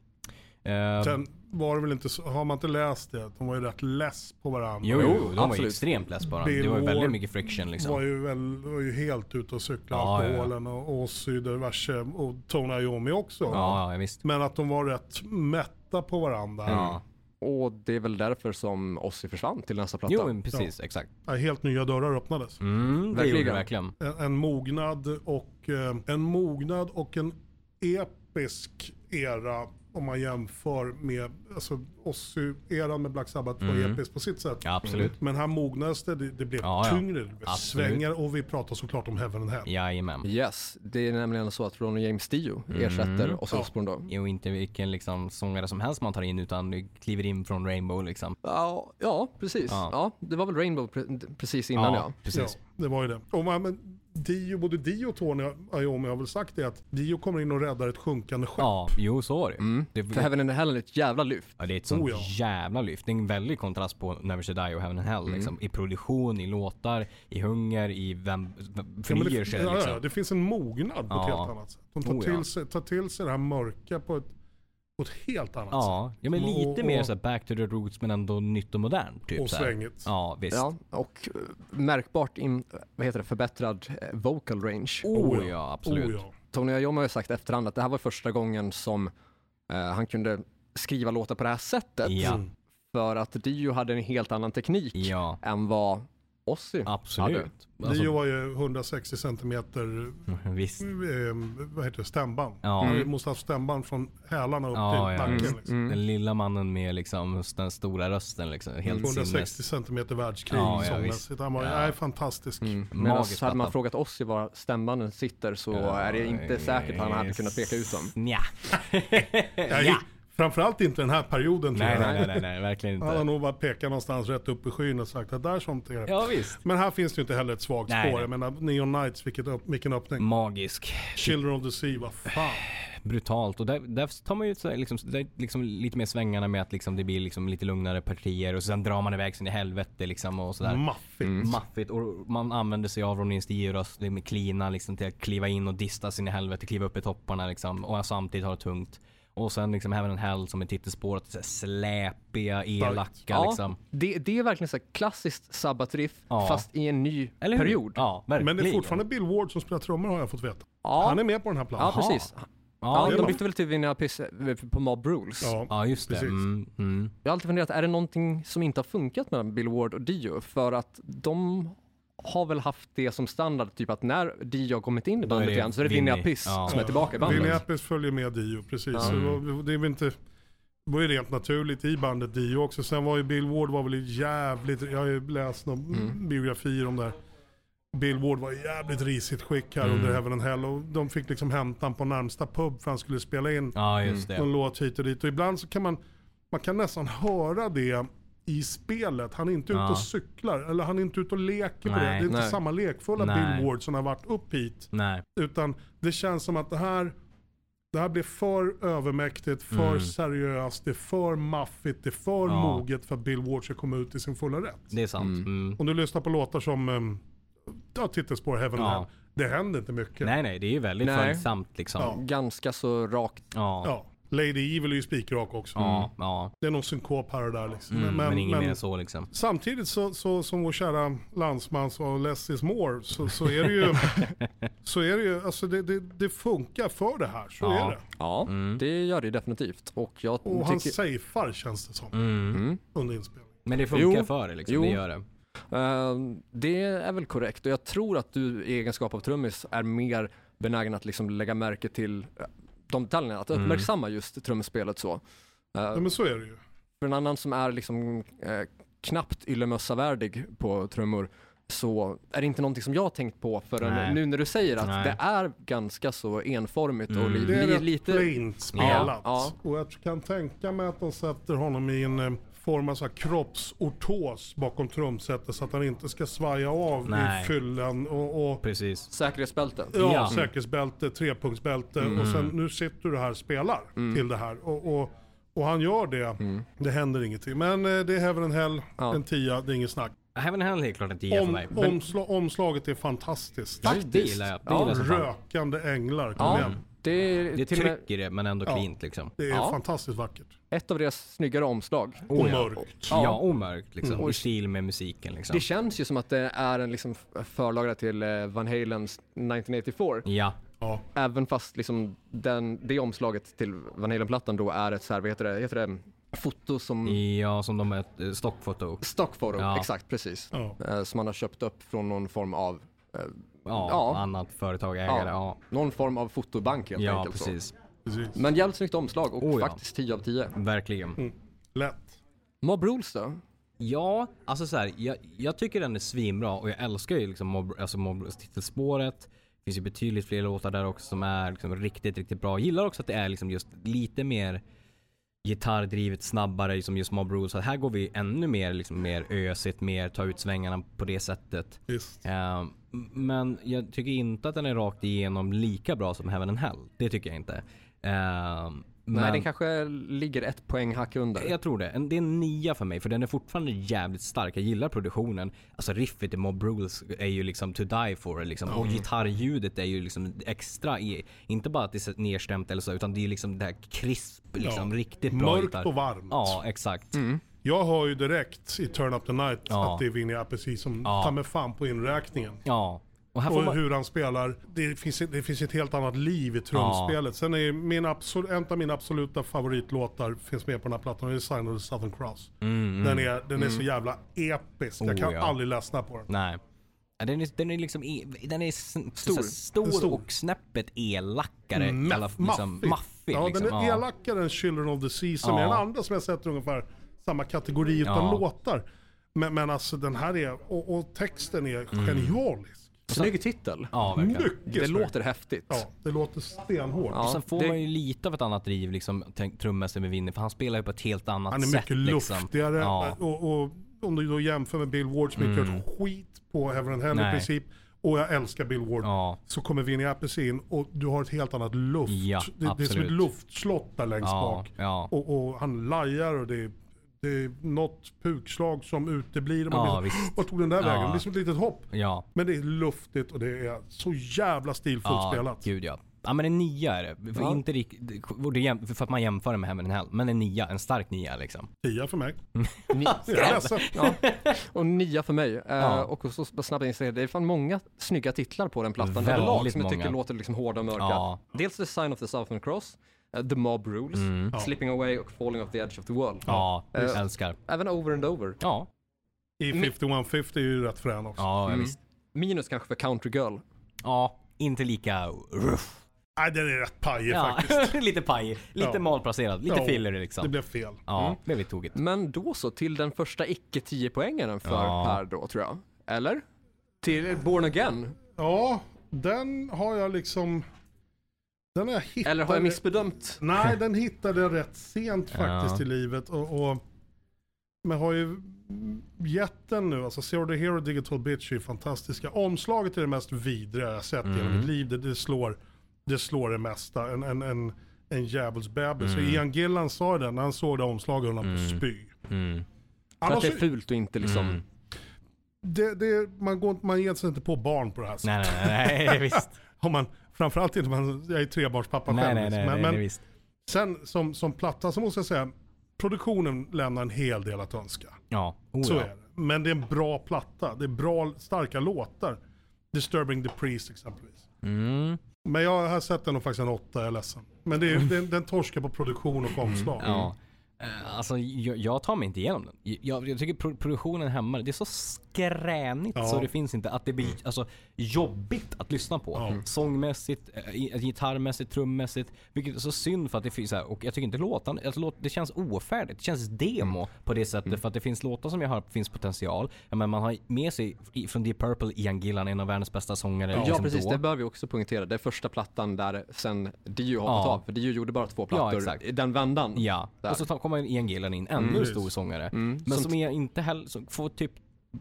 Eh,
Sen var det väl inte så, har man inte läst det, de var ju rätt less på varandra.
jo,
Jo,
jo, de var ju
Oh, absolut.
extremt less bara.
Bill
Det var ju
Ward
väldigt mycket friction
De var
liksom.
ju, väl, var ju helt ute och cyklade,
Ja, ja, ja.
alkoholen och Ozzy diverse och Tony Iommi också.
Ja, ja visst. Mm.
Men att de var rätt mätta på varandra.
Ja.
Och det är väl därför som Ossi försvann till nästa platta.
Jo, men precis. Exakt.
Ja, Helt nya dörrar öppnades.
Mm, det
Verkligen.
gjorde det verkligen.
En, en mognad och eh, en mognad och en episk era om man jämför med, alltså Ozzy-eran med Black Sabbath var episk på sitt sätt.
Mm. Ja, absolut.
Men här mognades det, det, det blev
Ja, ja.
tyngre, det blev
Absolut.
svängar och vi pratar såklart om Heaven and Hell.
Mm.
Jajamän.
Yes, det är nämligen så att Ronny James Dio
Mm.
ersätter Ozzy Osbourne då.
Jo, inte vilken liksom sångare som helst man tar in utan du kliver in från Rainbow liksom.
Ja, ja precis. Ja.
Ja.
det var väl Rainbow pre- precis innan ja.
precis.
Ja, det var ju det. Och man, men Dio, både Dio och Tony Iommi har väl sagt det att Dio kommer in och räddar ett sjunkande skepp.
Ja, jo så var det. det
För Heaven and Hell är ett jävla lyft.
ja, det är ett sånt
Oh, ja.
jävla lyft. Det är en väldig kontrast på Never Should Die och Heaven and Hell.
Mm.
Liksom. I produktion, i låtar, i hunger, i vem vem
Ja, men
förnyar sig
ja, ja,
liksom.
det finns en mognad på ett
Ja.
helt annat sätt. De tar,
Oh, ja.
till sig, tar till sig det här mörka på ett, på ett helt annat
Ja, ja men
Och-
lite mer
och-
så här back to the roots men ändå nytt och modernt. Typ,
sätt. Och
så här.
svängigt.
Ja, visst.
Ja, och eh, märkbart in, vad heter det, förbättrad eh, vocal range.
Oh ja, absolut.
Oh, ja.
Tony Iommi har ju sagt efterhand att det här var första gången som eh, han kunde skriva låtar på det här sättet.
Ja.
Mm.
För att Dio hade en helt annan teknik
Ja,
än vad Ozzy hade.
absolut. Alltså, mm,
Dio var ju 160 centimeter
visst.
eh, vad heter det, stämband.
Ja. Mm.
Man måste ha haft stämband från hälarna upp
Ja, Mm. ja,
till backen.
Mm,
visst.
Liksom.
Den lilla mannen med liksom den stora rösten liksom. Helt sinnes.
160 centimeter världskrig
Ja, ja,
sångmässigt. Han var ju,
Ja. Mm.
nej, fantastisk.
Medan
Magiskt
hade man
platta.
frågat Ozzy var stämbanden sitter så är det inte säkert att han hade kunnat peka ut dem.
Nja.
Nej,
Ja.
Framförallt inte den här perioden tror
Nej,
jag.
nej, nej, nej, nej, verkligen
Han har
inte.
nog bara pekat någonstans rätt upp i skyn och sagt att där sånt är det.
Ja, visst.
Men här finns det ju inte heller ett svagt
Nej,
spår.
nej.
Jag menar, Neon Knights, vilket upp, vilken öppning.
Magisk.
Children of the Sea, vad fan.
Brutalt. Och där, där tar man ju så här liksom, där liksom lite mer svängarna med att liksom det blir liksom lite lugnare partier och sen drar man iväg sin i helvete liksom och sådär.
Maffigt.
Maffigt och man använder sig av Ronins Dioros med klina liksom till att kliva in och dista sin i helvete, kliva upp i topparna liksom och samtidigt ha det tungt. Och sen liksom även en hell som är titelspåret, så här släpiga, elaka liksom.
det, det är verkligen så här klassiskt sabbatriff
Ja.
fast i en ny
Eller hur?
period. Ja,
Ja, verkligen.
Men det är fortfarande Bill Ward som spelar trummor har jag fått veta. Han är med på den här plattan.
precis.
Ja,
Ja,
det
de
var-
bytte väl till Vinna Piss på Mob Rules.
Ja,
ja just det.
precis.
Mm, mm.
Jag har alltid funderat, är det någonting som inte har funkat mellan Bill Ward och Dio? För att de har väl haft det som standard, typ att när Dio har kommit in i
Då är
bandet
det
igen så är det
Vinnie.
Vinnie Piss
Ja.
som är tillbaka i
Vinnie
bandet.
Appice följer med Dio, precis. Så det var- det, är väl inte, det var ju rent naturligt i bandet Dio också. Sen var ju Bill Ward var väl jävligt, jag har ju läst några biografier om det här. Bill Ward var i jävligt risigt skick här under Heaven and Hell och de fick liksom hämta honom på närmsta pub för han skulle spela in
Ja, just det.
någon låt hit och dit. Och ibland så kan man, man kan nästan höra det i spelet. Han är inte ute
Ja.
och cyklar, eller han är inte ute och leker på det. Det
Nej.
är inte
Nej.
samma lekfulla
Nej.
Bill Ward som har varit upp hit.
Nej.
Utan det känns som att det här, det här blir för övermäktigt, för seriöst, det är för maffigt, det är för
Mm. Ja.
moget för att Bill Ward ska komma ut i sin fulla rätt.
Det är sant. Mm.
Om du lyssnar ehm, på låtar som um, titelspår Heaven
Ja.
and Hell. det händer inte mycket.
Nej, nej, det är ju väldigt
Nej.
följsamt liksom. Ja.
Ja.
Ganska så rakt.
Ja. Ja.
Ja. Lady Evil är ju spikrak också. Det är någon synkop här och där liksom.
Mm, men, inget mer än så liksom.
Samtidigt så, så som vår kära landsman sa, less is more, så, så är det ju, så är det ju, alltså det, det, det funkar för det här, så
Ja.
är det.
Ja,
Mm.
det gör det definitivt. Och jag
Och han
tycker... Mm.
safear känns det som, under inspelningen.
Mm. Men det funkar
Jo.
för det liksom.
Jo.
Det gör det.
Eh, det är väl korrekt och jag tror att du i egenskap av trummis är mer benägen att liksom lägga märke till eh, de detaljerna, att
Mm.
uppmärksamma just trumspelet så. Eh,
Ja men så är det ju.
För en annan som är liksom eh, knappt yllemössavärdig på trummor så är det inte någonting som jag har tänkt på förrän
Nej.
nu när du säger att
Nej. Mm.
det är ganska så enformigt och li,
Det är
li,
rätt
lite...
plaint spelat.
Ja,
Och jag kan tänka mig att de sätter honom i en eh, form av så här kroppsortos bakom trumsetet så att han inte ska svaja av
Nej.
i fyllan och, och
Precis.
Säkerhetsbälte.
Ja,
Ja.
säkerhetsbälte, trepunktsbälte
Mm.
och sen nu sitter du här och spelar till det här. Och, och, och han gör det,
Mm.
det händer ingenting. Men eh, det är Heaven and Hell, en tia, det är inget snack.
Heaven Hell är helt klart en tia för
Om,
mig.
omsla, omslaget är fantastiskt.
Ja, Det gillar jag. Det
Ja,
gillar jag som fan.
Rökande änglar, kom
Ja,
igen.
det är,
Det är
till och med
tryck i det men ändå cleant liksom.
Det är
Ja.
fantastiskt vackert.
ett av deras snyggare omslag.
Och mörkt.
Oh, Ja, och mörkt liksom. I stil med musiken liksom.
Mm, Det känns ju som att det är en liksom förlaga till eh, Van Halens 1984.
Ja.
Ja.
Även fast liksom den, det omslaget till Van Halen-plattan då är ett så här, vad heter det, heter det foto som
Ja, som de är ett eh, stockfoto.
stockfoto,
Ja.
exakt precis.
Ja.
Eh, Som man har köpt upp från någon form av, eh,
Ja,
Ja.
annat företag,
ja,
ägare. Ja,
någon form av fotobank helt
ja
enkelt. så.
precis.
Precis.
Men jävligt snyggt omslag och
Oh, ja.
faktiskt 10 av 10.
Verkligen.
Lätt.
Mob Rules då?
Ja, alltså så här, jag, jag tycker den är svinbra och jag älskar ju liksom Mob, alltså Mob titelspåret. Det finns ju betydligt fler låtar där också som är liksom riktigt, riktigt bra. Jag gillar också att det är liksom just lite mer gitarrdrivet snabbare liksom just Mob Rules. Så här går vi ännu mer, liksom mer ösigt, mer ta ut svängarna på det sättet.
Visst.
Eh, men jag tycker inte att den är rakt igenom lika bra som Heaven and Hell. Det tycker jag inte. Eh,
Nej,
men-
den kanske ligger ett poäng hack under.
jag tror det. En- Det är en nia för mig för den är fortfarande jävligt stark. Jag gillar produktionen. Alltså riffet i Mob Rules är ju liksom to die for liksom. Och
Mm.
gitarrljudet är ju liksom extra i, inte bara att det är så nedstämt eller så utan det är liksom det här krisp liksom.
Ja.
Riktigt bra
Mörkt
gitarr.
och varmt.
Ja, exakt.
Jag hör ju direkt i Turn Up The Night
Ja.
att det är Vinnie Appice som
Ja.
tar med fan på inräkningen.
Ja. Och här får
Och
man...
hur han spelar. Det finns, ett- det finns ett helt annat liv i trumspelet. Sen är min absolut, en av mina absoluta favoritlåtar finns med på den här plattan. och Det är Sign of the Southern Cross. Den är, den är så jävla episk. Jag kan
Mm, Oh, ja.
aldrig ledsna på den.
Nej. Ja, Den är, den är liksom e- den är sn- stor. stor,
Stor.
och snäppet elakare.
Maff-
Alla, liksom, maffig.
ja,
liksom.
den är elakare än Children of the Sea som
Ja.
är den andra som jag sett ungefär samma kategori utan
Ja.
låtar. Men, men alltså den här är, och, och texten är genialisk.
Snygg titel.
Ja, Mm. verkligen.
Mycket
Det
snyggt.
låter häftigt.
Ja, det låter stenhårt.
Ja,
Sen får
det-
man ju lite av ett annat driv liksom, tänk- trummässigt med Winnie, för han spelar ju på ett helt annat
Han är
sätt.
mycket luftigare.
Liksom. Ja. Mm.
Och, och om du då jämför med Bill Ward som inte gör skit på Heaven and Hell
Nej.
i princip. Och jag älskar Bill Ward.
Ja.
Så kommer Vinnie Appice in och du har ett helt annat luft.
Ja,
det, det är som
absolut.
ett luftslott där längst
Ja,
bak.
ja.
Och, och han lajar och det är, det är något pukslag som uteblir. Och Man
Ja,
blir så,
visst.
Vart tog den där vägen? Det blir som ett litet hopp.
ja.
Men det är luftigt och det är så jävla stilfullt
Ja,
spelat.
gud ja. Ja men en nia är det. För, inte rikt, och det jäm- för att man jämför det med Heaven and Hell. Men en nia, en stark nia liksom.
Tia för mig.
Ni-
Jag är ledsen.
Ja. Och nia för mig. Eh, Och så snabbt inställning. Det är fan många snygga titlar på den plattan
Väldigt
överlag som jag tycker
många.
låter liksom hårda och mörka.
Ja.
Dels The Sign of the Southern Cross, eh, The Mob Rules, Slipping Away och Falling off the Edge of the World.
Mm. Ja,
Eh.
älskar.
Även Over and Over.
Ja,
I 5150 är ju rätt frän också.
ja
Mm.
visst.
Minus kanske för Country Girl.
Ja, inte lika ruff.
Nej, den är rätt pajig
Ja,
faktiskt.
lite paj, lite
Ja.
malplacerad, lite
Ja,
filler liksom.
Det Mm. blev fel.
Ja, det blev lite tokigt.
Men då så, till den första icke 10 poängaren för
Ja.
Per då tror jag. Eller? Till Born Again?
Ja, den har jag liksom... Den har jag hittat.
Eller har jag missbedömt?
Nej, den hittade jag rätt sent faktiskt i livet. Och, och, men har ju gett den nu. Alltså Zero the Hero Digital Bitch är ju fantastiska. Omslaget är det mest vidriga jag har sett i
Mm.
hela mitt liv. Det, det, slår, det slår det mesta. En, en, en, en djävulsbebis.
Mm.
Så Ian Gillan sa det när han såg det omslaget, höll han på att spy.
Mm.
För att
Annars,
det är fult och inte liksom...
det, det, man, går, inte- man ger sig inte på barn på det här sättet.
Nej, nej, nej, nej visst.
Om man, framförallt inte om man jag är trebarnspappa
nej,
själv.
nej,
liksom.
nej,
men,
nej,
men
nej, visst.
sen som, som platta så måste jag säga, produktionen lämnar en hel del att önska.
Ja, oh,
Så
ja.
är det. Men det är en bra platta. Det är bra, starka låtar. Disturbing the Priest exempelvis.
Mm.
Men jag har sett den och faktiskt en åtta, jag är ledsen. Men det är, den, den torskar på produktion och omslag.
Mm. Ja. Eh, Alltså jag, jag tar mig inte igenom den. Jag, jag tycker pro- produktionen hämmar det. Det är så skränigt
Ja.
så det finns inte. Att det
Mm.
blir alltså, jobbigt att lyssna på. Mm. Sångmässigt, eh, i- gitarrmässigt, trummässigt. Vilket är så synd för att det finns så här, och jag tycker inte låtan, alltså, låt, det känns ofärdigt. Det känns demo
Mm.
på det sättet. För att det finns låtar som jag har finns potential. Men man har med sig i- från Deep Purple Ian Gillan, en av världens bästa sångare.
Ja,
liksom
precis.
då.
Det bör vi också poängtera. Det är första plattan där sen Dio har
Ja.
hoppat av. För Dio gjorde bara två plattor
exakt.
i den vändan.
Ja,
Där.
och så ta- kommer E Ian Gillan in,
Mm.
ännu en stor sångare. Men som är inte heller, som får typ,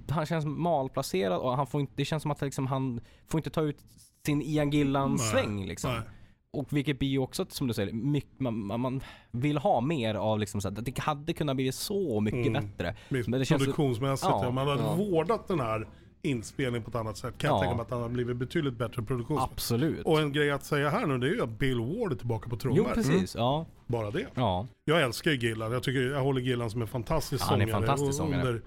han känns malplacerad och han får inte, det känns som att liksom han får inte ta ut sin Ian Gillan-sväng liksom.
Nej.
Och vilket blir ju också, som du säger, mycket, man, man- man vill ha mer av liksom så här, det hade kunnat bli så mycket
Mm.
bättre.
Visst,
Men det känns,
Produktionsmässigt,
Ja,
ja, om man hade vårdat den här inspelningen på ett annat sätt kan
Ja.
jag tänka mig att den hade blivit betydligt bättre produktionsmässigt.
absolut.
Och Mm. en grej att säga här nu det är ju att Bill Ward är tillbaka på
Jo
trummor.
precis, ja.
Bara det.
Ja,
Jag älskar ju Gillan. Jag, tycker, jag håller Gillan som en fantastisk
Han är
sångare.
fantastisk
Och
sångare.
Under,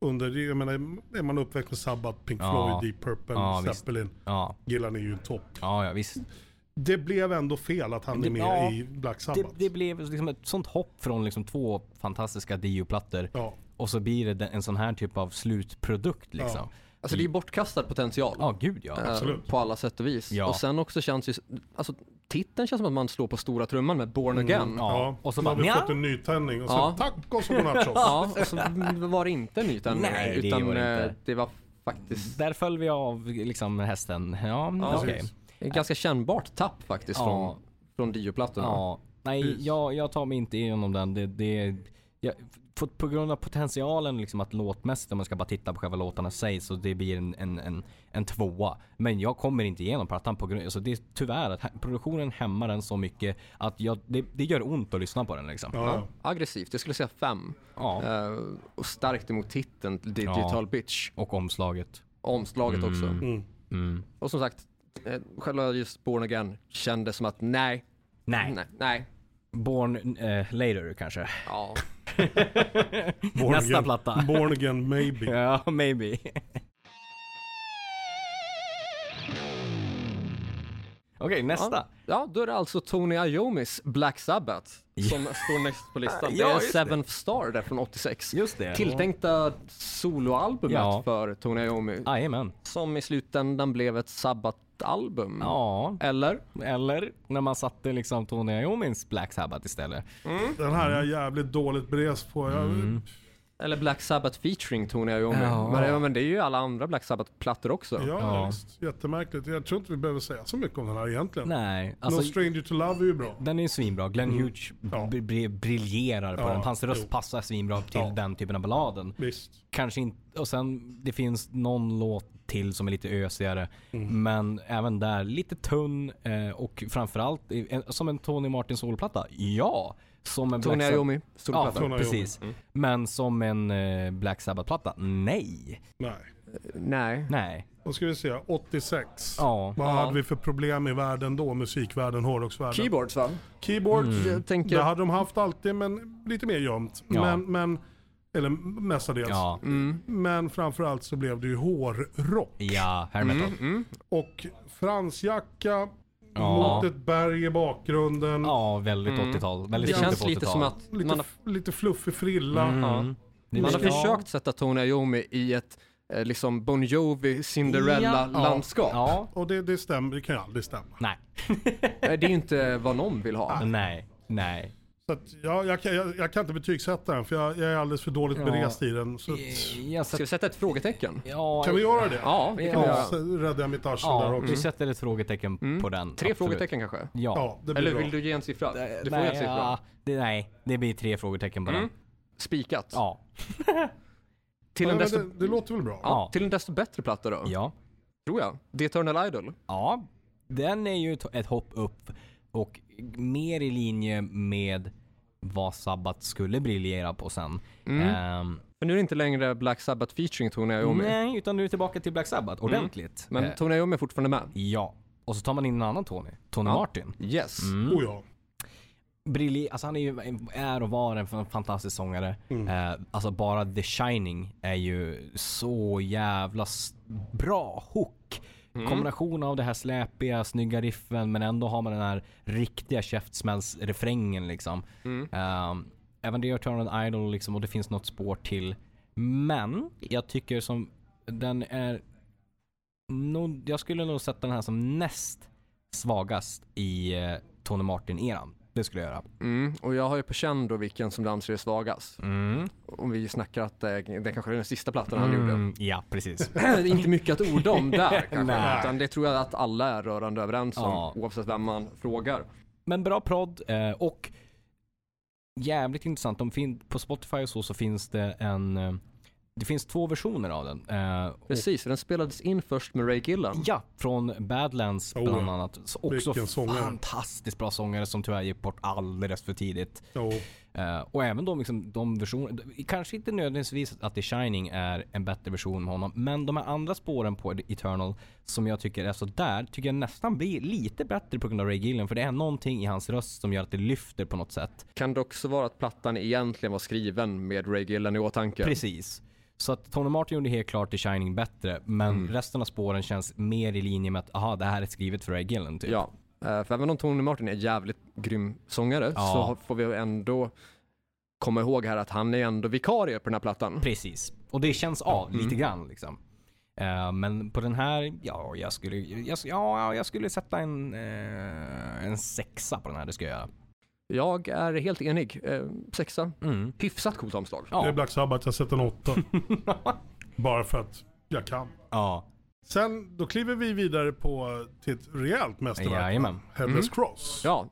under, jag menar, är man uppväxt med Sabbath, Pink
Ja.
Floyd, Deep Purple,
Ja, visst.
Zeppelin.
ja,
Gillan är ju en topp.
ja, ja visst.
Det blev ändå fel att han
Det-
är med
ja,
i Black
Det,
Sabbath.
det blev liksom ett sånt hopp från liksom två fantastiska Dio-plattor.
Ja.
Och så blir det den- en sån här typ av slutprodukt liksom.
Ja.
Alltså det är ju bortkastad potential.
Ja, gud ja.
eh,
absolut.
På alla sätt och vis.
Ja.
Och sen också känns ju, alltså titeln känns som att man slår på stora trumman med Born Again.
Mm, Ja. Och så bara,
har vi
nja.
fått en nytändning och sen
Ja.
tack och så godnatt
Ja, och så var det inte en ny tändning.
Nej, det
utan
var det inte.
eh, det var faktiskt
Där föll vi av liksom hästen. Ja,
Ja.
okej.
Precis.
ett ganska kännbart tapp faktiskt
Ja.
från, från Dio-plattorna.
Ja. Nej,
Precis.
jag, jag tar mig inte igenom den. Det, det, jag, för, på grund av potentialen liksom att låtmässigt, om man ska bara titta på själva låtarna i sig, så det blir en, en, en, en tvåa. Men jag kommer inte igenom plattan på grund alltså det är tyvärr att hä- produktionen hämmar den så mycket att jag, det, det gör ont att lyssna på den liksom.
Ja. ja.
Aggressivt, jag skulle säga fem.
Ja.
Eh, och starkt emot titeln Digital Bitch.
Och omslaget.
Omslaget också.
Mm.
Och som sagt, eh, själva just Born Again kändes som att nej,
Nej.
nej, nej.
Born eh, later kanske.
Ja.
Born
Nästa
again,
platta.
Born again maybe.
Ja, maybe. Okej, nästa.
ja, då är det alltså Tony Iommis Black Sabbath som står näxt på listan.
Ja,
det är
just det.
Seventh Star där från 86.
Just det.
Tilltänkta soloalbumet
Ja.
för Tony Iommi
Jajamän.
som i slutändan blev ett Sabbath-album.
Ja,
Eller?
eller när man satte liksom Tony Iommis Black Sabbath istället.
Den här är jag jävligt dåligt berest på. Jag,
Mm.
Eller Black Sabbath featuring Tony Iommi.
Ja.
Men, det- men det är ju alla andra Black Sabbath-plattor också.
Ja,
Ja.
Visst, jättemärkligt. Jag tror inte vi behöver säga så mycket om den här egentligen.
Nej,
no
alltså
Stranger to Love är ju bra.
den är ju svinbra. Glenn Hughes
Mm. Ja.
br- br- briljerar på
Ja,
den. Hans röst
jo.
passar svinbra till
Ja.
den typen av balladen.
Visst.
Kanske inte, och sen det finns någon låt till som är lite ösigare.
Mm.
Men även där lite tunn eh, och framförallt eh, en- som en Tony Martin solplatta. Ja! Som en
Tony
Black Sabbath-
Iommi, stor
Ja,
platta.
Tony Iommi. Mm.
precis. Men som en eh, Black Sabbath-platta? Nej.
Nej.
Nej.
Nej.
Då ska vi se. 86.
Ja.
Vad
Ja.
hade vi för problem i världen då? Musikvärlden, hårdrocksvärlden.
Keyboards va?
Keyboards.
Jag tänker...
Det hade de haft alltid, men lite mer gömt.
Mm. Ja.
Men, men, eller mestadels.
Ja.
Mm. Men framförallt så blev det ju hårrock.
Ja, hair metal. Mm.
Och fransjacka
Ja.
mot ett berg i bakgrunden.
Ja, väldigt 80-tal.
Mm.
Väldigt
Det
mycket
känns lite
80-tal.
som att
Lite,
man har,
f- lite fluffig frilla.
Mm.
ja,
Det
man har
är- ja.
försökt sätta Tony Iommi i ett eh, liksom Bon Jovi, Cinderella-landskap.
Ja.
Och det, det stämmer, det kan ju aldrig stämma.
Nej.
Eh, Det är ju inte vad någon vill ha.
Nej. Nej.
Så att, ja, jag, kan, jag, jag kan inte betygsätta den för jag, jag är alldeles för dåligt
Ja.
berest i den. Så att,
Jag
Ska vi sätta ett frågetecken?
ja,
kan vi göra det?
Ja, det kan vi
Ja,
göra. Mm.
så räddade jag mitt arsel där
Ja,
också.
vi sätter ett frågetecken på den.
Tre
absolut.
frågetecken kanske?
Ja.
Ja, det blir
Eller
bra.
vill du ge en siffra? Du får
nej,
en siffra.
ja, det, nej, det blir tre frågetecken på
Mm.
den.
Spikat.
Ja.
Till, en
ja, men
desto,
det, det låter väl bra?
ja, till en desto bättre platta då,
Ja.
tror jag. The Eternal Idol.
Ja, den är ju ett- ett hopp upp och mer
Mm.
i linje med vad Sabbat skulle briljera på sen. Ehm,
För nu är det inte längre Black Sabbath featuring Tony Iommi.
Nej, utan nu är vi tillbaka till Black Sabbath ordentligt.
Mm. Men
Eh,
Tony Iommi är fortfarande med.
ja. Och så tar man in en annan Tony. Tony
Ja.
Martin.
Yes.
Mm.
Oh ja.
Brilli, alltså han är ju, är och var en fan- fantastisk sångare. Eh, alltså bara The Shining är ju så jävla s- bra hook. Kombination av det här släpiga, snygga riffen men ändå har man den här riktiga käftsmällsrefrängen liksom. Eh, även det är Turn on Idol liksom och det finns något spår till. Men jag tycker som den är nog, jag skulle nog sätta den här som näst svagast i eh, Tony Martin-eran. Det skulle jag göra.
Mm. Och jag har ju på känn då vilken som du anser är svagast. Om vi snackar att eh, det, det kanske är den sista plattan han gjorde.
Mm, ja, precis.
Det är inte mycket att orda om där kanske.
Nej.
Utan det tror jag att alla är rörande överens om.
Ja.
Oavsett vem man frågar.
Men bra prodd eh, och jävligt intressant. De fin- på Spotify och så, så finns det en... eh, Det finns två versioner av den. Eh,
Precis, för den spelades in först med Ray Gillan.
Ja, från Badlands
Oh,
bland
ja.
annat. Så
Vilken
Också
sångare.
fantastiskt bra sångare som tyvärr gick bort alldeles för tidigt.
Jo.
Eh, och även de, liksom, de versioner, kanske inte nödvändigtvis att The Shining är en bättre version med honom, men de här andra spåren på Eternal som jag tycker är sådär, tycker jag nästan blir lite bättre på grund av Ray Gillen, för det är någonting i hans röst som gör att det lyfter på något sätt.
Kan det också vara att plattan egentligen var skriven med Ray Gillan i åtanke?
Precis. Så att Tony Martin gjorde helt klart The Shining bättre, men resten av spåren känns mer i linje med att, aha, det här är skrivet för Ray Gillen typ.
Ja, eh, för även om Tony Martin är jävligt grym sångare
Ja.
så har- får vi ändå komma ihåg här att han är ändå vikarie på den här plattan.
Precis. Och det känns av
Mm.
lite grann liksom. Eh, men på den här, ja jag skulle, jag, ja, jag skulle sätta en, eh, en sexa på den här, det ska jag göra.
Jag är helt enig. Eh, sexa. Hyfsat coolt omslag.
Mm. Ja.
Det är Black Sabbath, jag sätter en åtta. Bara för att jag kan.
Ja,
Sen, då kliver vi vidare på till ett rejält mästerverk.
jajamän.
Headless Cross.
Mm. Ja,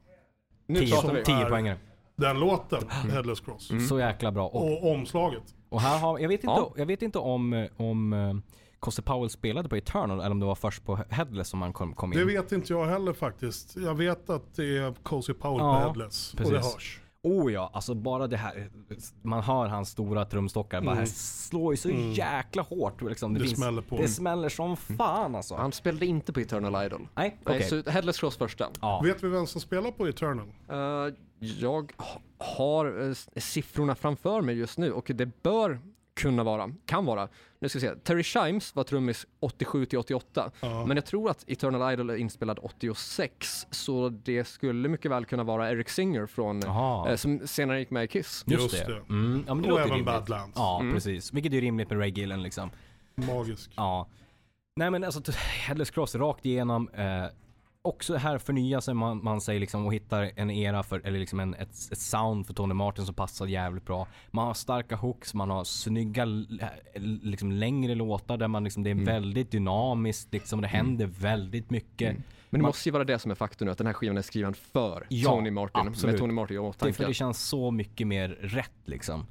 nu
Tio,
pratar vi.
tio
är-
poängare.
Den låten,
Mm.
Headless Cross.
Så jäkla bra. Och,
Och omslaget.
och här har, jag vet inte,
Ja.
jag vet inte om, eh, om eh, Coster Powell spelade på Eternal eller om det var först på Headless som han kom, kom in.
Det vet inte jag heller faktiskt. Jag vet att det är Cozy Powell
Ja,
på Headless. Och det
precis.
hörs.
Oh ja, alltså bara det här. Man hör hans stora trumstockar bara här slår ju så jäkla hårt. Liksom.
Mm. Det smäller på.
Det smäller som fan alltså.
Mm. Han spelade inte på Eternal Idol.
Nej, okej.
Nej, så Headless Cross första.
Ja.
Vet vi vem som spelar på Eternal?
Eh, jag ha- har eh, s- siffrorna framför mig just nu och det bör kunna vara, kan vara. Nu ska vi se, Terry Shimes var trummis 87 till 88. Men jag tror att Eternal Idol är inspelad 86 så det skulle mycket väl kunna vara Eric Singer från,
Aha.
eh, som senare gick med i Kiss.
Just,
Just
det.
det.
Mm. Ja, men det
Och
låter
även
rimligt.
Badlands.
Ja,
Mm.
precis. Vilket är rimligt med Ray Gillen liksom.
Magisk.
Ja. Nej men alltså, t- Headless Cross rakt igenom. Eh, också här förnya sig man, man sig liksom och hittar en era för, eller liksom en, ett, ett sound för Tony Martin som passar jävligt bra. Man har starka hooks, man har snygga l- l- liksom längre låtar där man liksom,
Mm.
det är väldigt dynamiskt liksom. Det händer väldigt mycket.
Mm. Men det måste ju vara det som är faktum nu, att den här skivan är skriven för
Ja,
Tony Martin.
absolut.
Med Tony Martin i
Det, är för
åtanke.
det känns så mycket mer rätt liksom.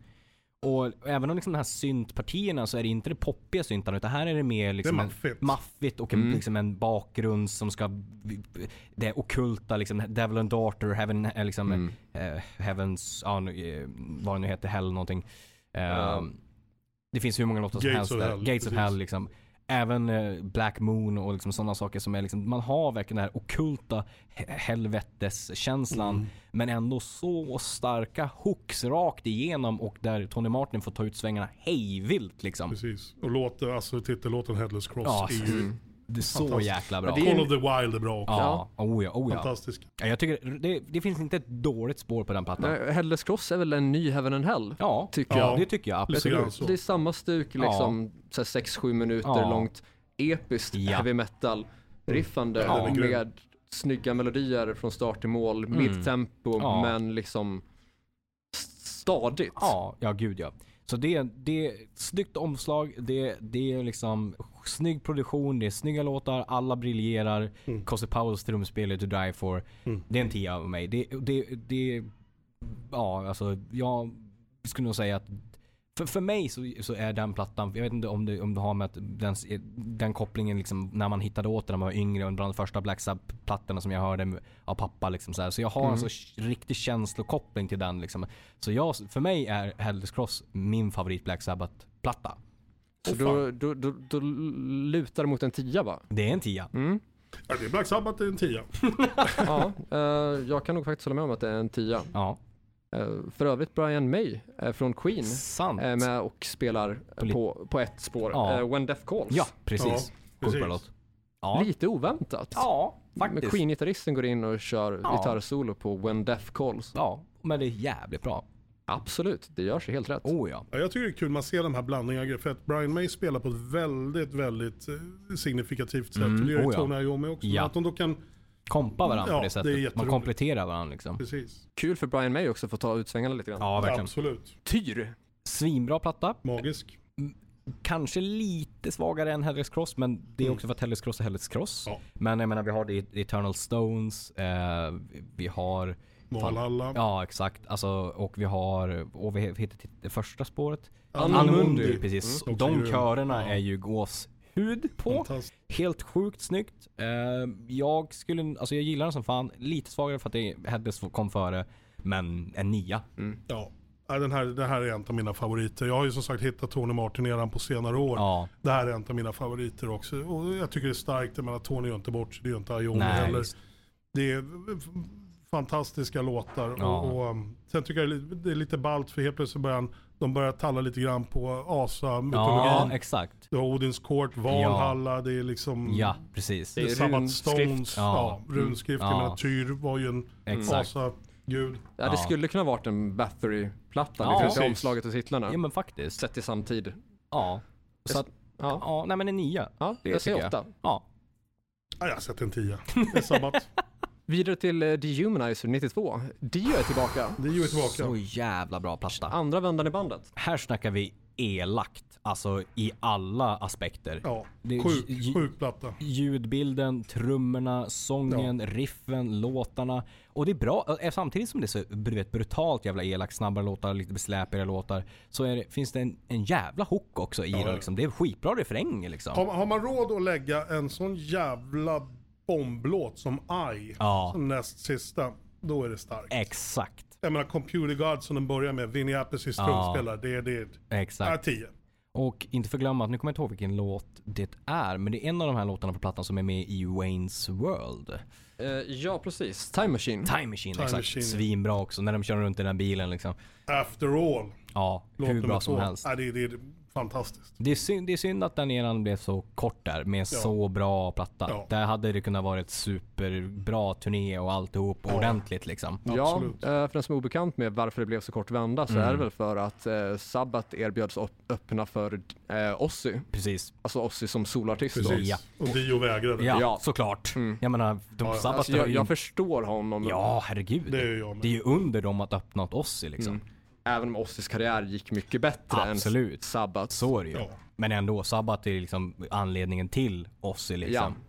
Och även om liksom de här syntpartierna så är det inte det poppiga syntarna utan här är det mer liksom
Det är
en-
maffigt.
maffigt och en, liksom en bakgrund som ska, det ockulta liksom, Devil and Daughter, Heaven, eh, liksom, eh, Heavens, ja, nu, eh, vad det nu heter, Hell någonting. Eh, Det finns hur många låtar som
Gates
helst
of
där.
Hell,
Gates of
precis.
Hell liksom. Även eh, Black Moon och liksom sådana saker som är liksom, man har verkligen den här ockulta he- helveteskänslan.
Mm.
Men ändå så starka hooks rakt igenom och där Tony Martin får ta ut svängarna hejvilt liksom.
Precis. Och låten, alltså titellåten Headless Cross
Ja,
är ju...
mm.
Det är så
Fantastiskt.
jäkla bra.
Men det är-
Call of the Wild är bra också.
Ja, oh ja, oh ja.
Fantastisk.
ja jag tycker det, det finns inte ett dåligt spår på den plattan.
Nej, Headless Eh, Cross är väl en ny Heaven and Hell?
Ja,
Tycker
Ja.
jag.
det tycker jag
Lite
absolut.
grann så.
Det är samma stuk, liksom ja. 6-7 minuter
Ja.
långt episkt
Ja.
heavy metal riffande
Ja, den är Mm.
grym.
med snygga melodier från start till mål, midtempo
Ja.
men liksom st- stadigt.
Ja, ja gud ja. Så det, det är ett snyggt omslag, det, det är liksom snygg produktion, det är snygga låtar, alla briljerar. Mm. Cozy Powells trumspel är to die for. Det är en tia av mig. Det, det, det, ja alltså jag skulle nog säga att För, för mig så, så är den plattan, jag vet inte om du, om du har med att den, den kopplingen liksom när man hittade åt den när man var yngre och bland de första Black Sabbath-plattorna som jag hörde av pappa liksom så här. Så jag har en så riktig känslokoppling till den liksom. Så jag, för mig är Hells Cross min favorit Black Sabbath-platta.
Så då, då, då, då lutar det mot en tia va?
Det är en tia.
Ja, det är Black Sabbath, det är en tia.
Ja, eh, jag kan nog faktiskt hålla med om att det är en tia.
Ja.
Eh, för övrigt Brian May eh, från Queen
Sant.
är Eh, med och spelar eh,
Poli-
på, på ett spår.
Mm. Ja.
Eh, When Death Calls.
Ja, precis.
Ja,
Sjukt bra
precis.
låt. Ja.
Lite oväntat.
ja,
Men
faktiskt.
Queen-gitarristen går in och kör
Ja.
gitarrsolo på When Death Calls.
Ja, men det är jävligt bra.
Absolut, det gör sig helt rätt.
Oh ja.
Ja, jag tycker det är kul man ser de här blandningarna. För att Brian May spelar på ett väldigt, väldigt eh, signifikativt sätt.
Mm,
Det gör ju
oh ja.
Tony Iommi också.
Ja.
Men Att de då kan,
Kompa varandra på
Ja, det är
det sättet. Man
jätteroligt.
kompletterar varandra liksom.
precis.
Kul för Brian May också att få ta ut svängarna lite grann.
Ja, verkligen.
Absolut.
Tyr!
Svinbra platta.
Magisk.
Kanske lite svagare än Hellers Cross, men det är också för att Hellers Cross är Hellers Cross.
Mm. Ja.
Men jag menar, vi har The Eternal Stones, eh, vi har...
Valhalla.
Ja, exakt. Alltså, och vi har... Och vi heter till det första spåret?
Annamundi.
Precis.
Mm.
De
Också ju-
körerna är ju gåshud på.
Fantastiskt.
Helt sjukt snyggt. Eh, jag skulle... Alltså jag gillar den som fan. Lite svagare för att det Heddes kom före. Men en nia.
Ja. Ja, Den här, den här är en av mina favoriter. Jag har ju som sagt hittat Tony Martin redan på senare år.
Ja.
Det här är en av mina favoriter också. Och jag tycker det är starkt. Jag menar, Tony gör inte bort sig. Det är ju inte Iommi
Nej,
heller.
visst.
Det är f- fantastiska låtar.
Ja.
Och, och, um, sen tycker jag det är li- det är lite ballt för helt plötsligt börjar han- de börjar talla lite grann på
Ja,
asa-mytologin.
exakt.
Du har Odins kort, Valhalla, det är liksom
Ja, precis.
det är
Det är
Sabbath
runskrift.
Stones,
Ja. Mm.
ja. runskrift.
Ja.
Jag menar Tyr var ju en
Exakt.
asagud.
Ja, det
Ja.
skulle kunna varit en Bathory-platta.
Ja.
Ja,
Precis.
omslaget och titlarna.
Ja men faktiskt.
Sett i samtid.
Ja. Så att,
Ja,
ja, nej men en nia.
ja
det
jag ser
tycker jag.
åtta.
Ja.
Ja, jag har sett en tia. Det är Sabbath.
Vidare till eh, Dehumanizer 92. Dio är tillbaka.
Det är ju tillbaka.
Så jävla bra platta.
Andra vändan i bandet.
Här snackar vi elakt. Alltså i alla aspekter.
Ja,
Det är j-
sjuk, sjuk platta.
Ljudbilden, trummorna, sången, riffen, låtarna. Och det är bra, eh, samtidigt som det är så du vet, brutalt jävla elakt, snabbare låtar, lite besläpigare låtar. Så är det, finns det en, en jävla hook också i det liksom. Det är skitbra refränger liksom.
Har, har man råd att lägga en sån jävla bomblåt som I,
Ja. Eh.
som näst sista, då är det starkt.
Exakt.
Jag menar Computer God som den börjar med, Vinnie Appicees trumspelare, det är det.
Exakt.
Ja, 10.
Och inte förglömma att, nu kommer jag inte ihåg vilken låt det är, men det är en av de här låtarna på plattan som är med i Wayne's World.
Eh, ja, precis. Time Machine.
Time Machine, exakt.
Machine, ja.
Svinbra också, när de kör runt i den bilen liksom.
After All,
Ja,
låt
hur
nummer
bra som
två.
helst.
Ja, det, det är fantastiskt.
Det är, synd, det är synd att den eran blev så kort där, med så bra platta.
Ja.
Där hade det kunnat vara ett superbra turné och alltihop ordentligt liksom.
Ja,
Absolut.
eh, för den som är obekant med varför det blev så kort vända så är det väl för att eh, Sabbath erbjöds op- öppna för eh, Ozzy.
Precis.
Alltså Ozzy som solartist då.
Precis.
Ja.
Och Dio vägrade.
Ja,
Ja. Mm.
såklart. Jag menar, de Sabbath
Alltså,
har
jag,
ju
jag
inte-
förstår honom.
Ja, herregud.
Det är jag med. Mm.
Det är ju under dem att öppna åt oss liksom.
Även om Ozzys karriär gick mycket bättre än
Absolut.
Sabbath.
Så är det ju.
Ja.
Men ändå, Sabbat är liksom anledningen till oss liksom.
Ja.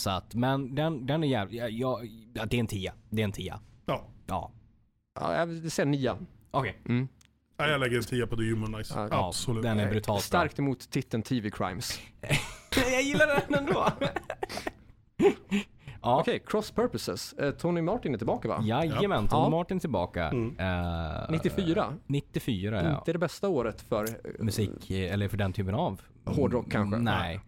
Så att, men den, den är jävligt, ja, ja, ja, det är en tia. Det är en tia.
Ja.
Ja.
Ja, jag säger nia.
Okej.
Mm.
Ja, jag lägger en 10 på The Humanizer.
Ja,
Absolut.
Den är brutalt bra.
Starkt emot titeln TV Crimes.
Jag gillar den ändå. Ja.
Okej, Cross Purposes. Eh, Tony Martin är tillbaka va?
Jajamän, Tom
Ja.
Martin tillbaka.
Mm.
Eh,
94.
94 ja.
Inte det bästa året för... eh,
Musik, eh, eller för den typen av.
Hårdrock kanske.
Nej. Eh,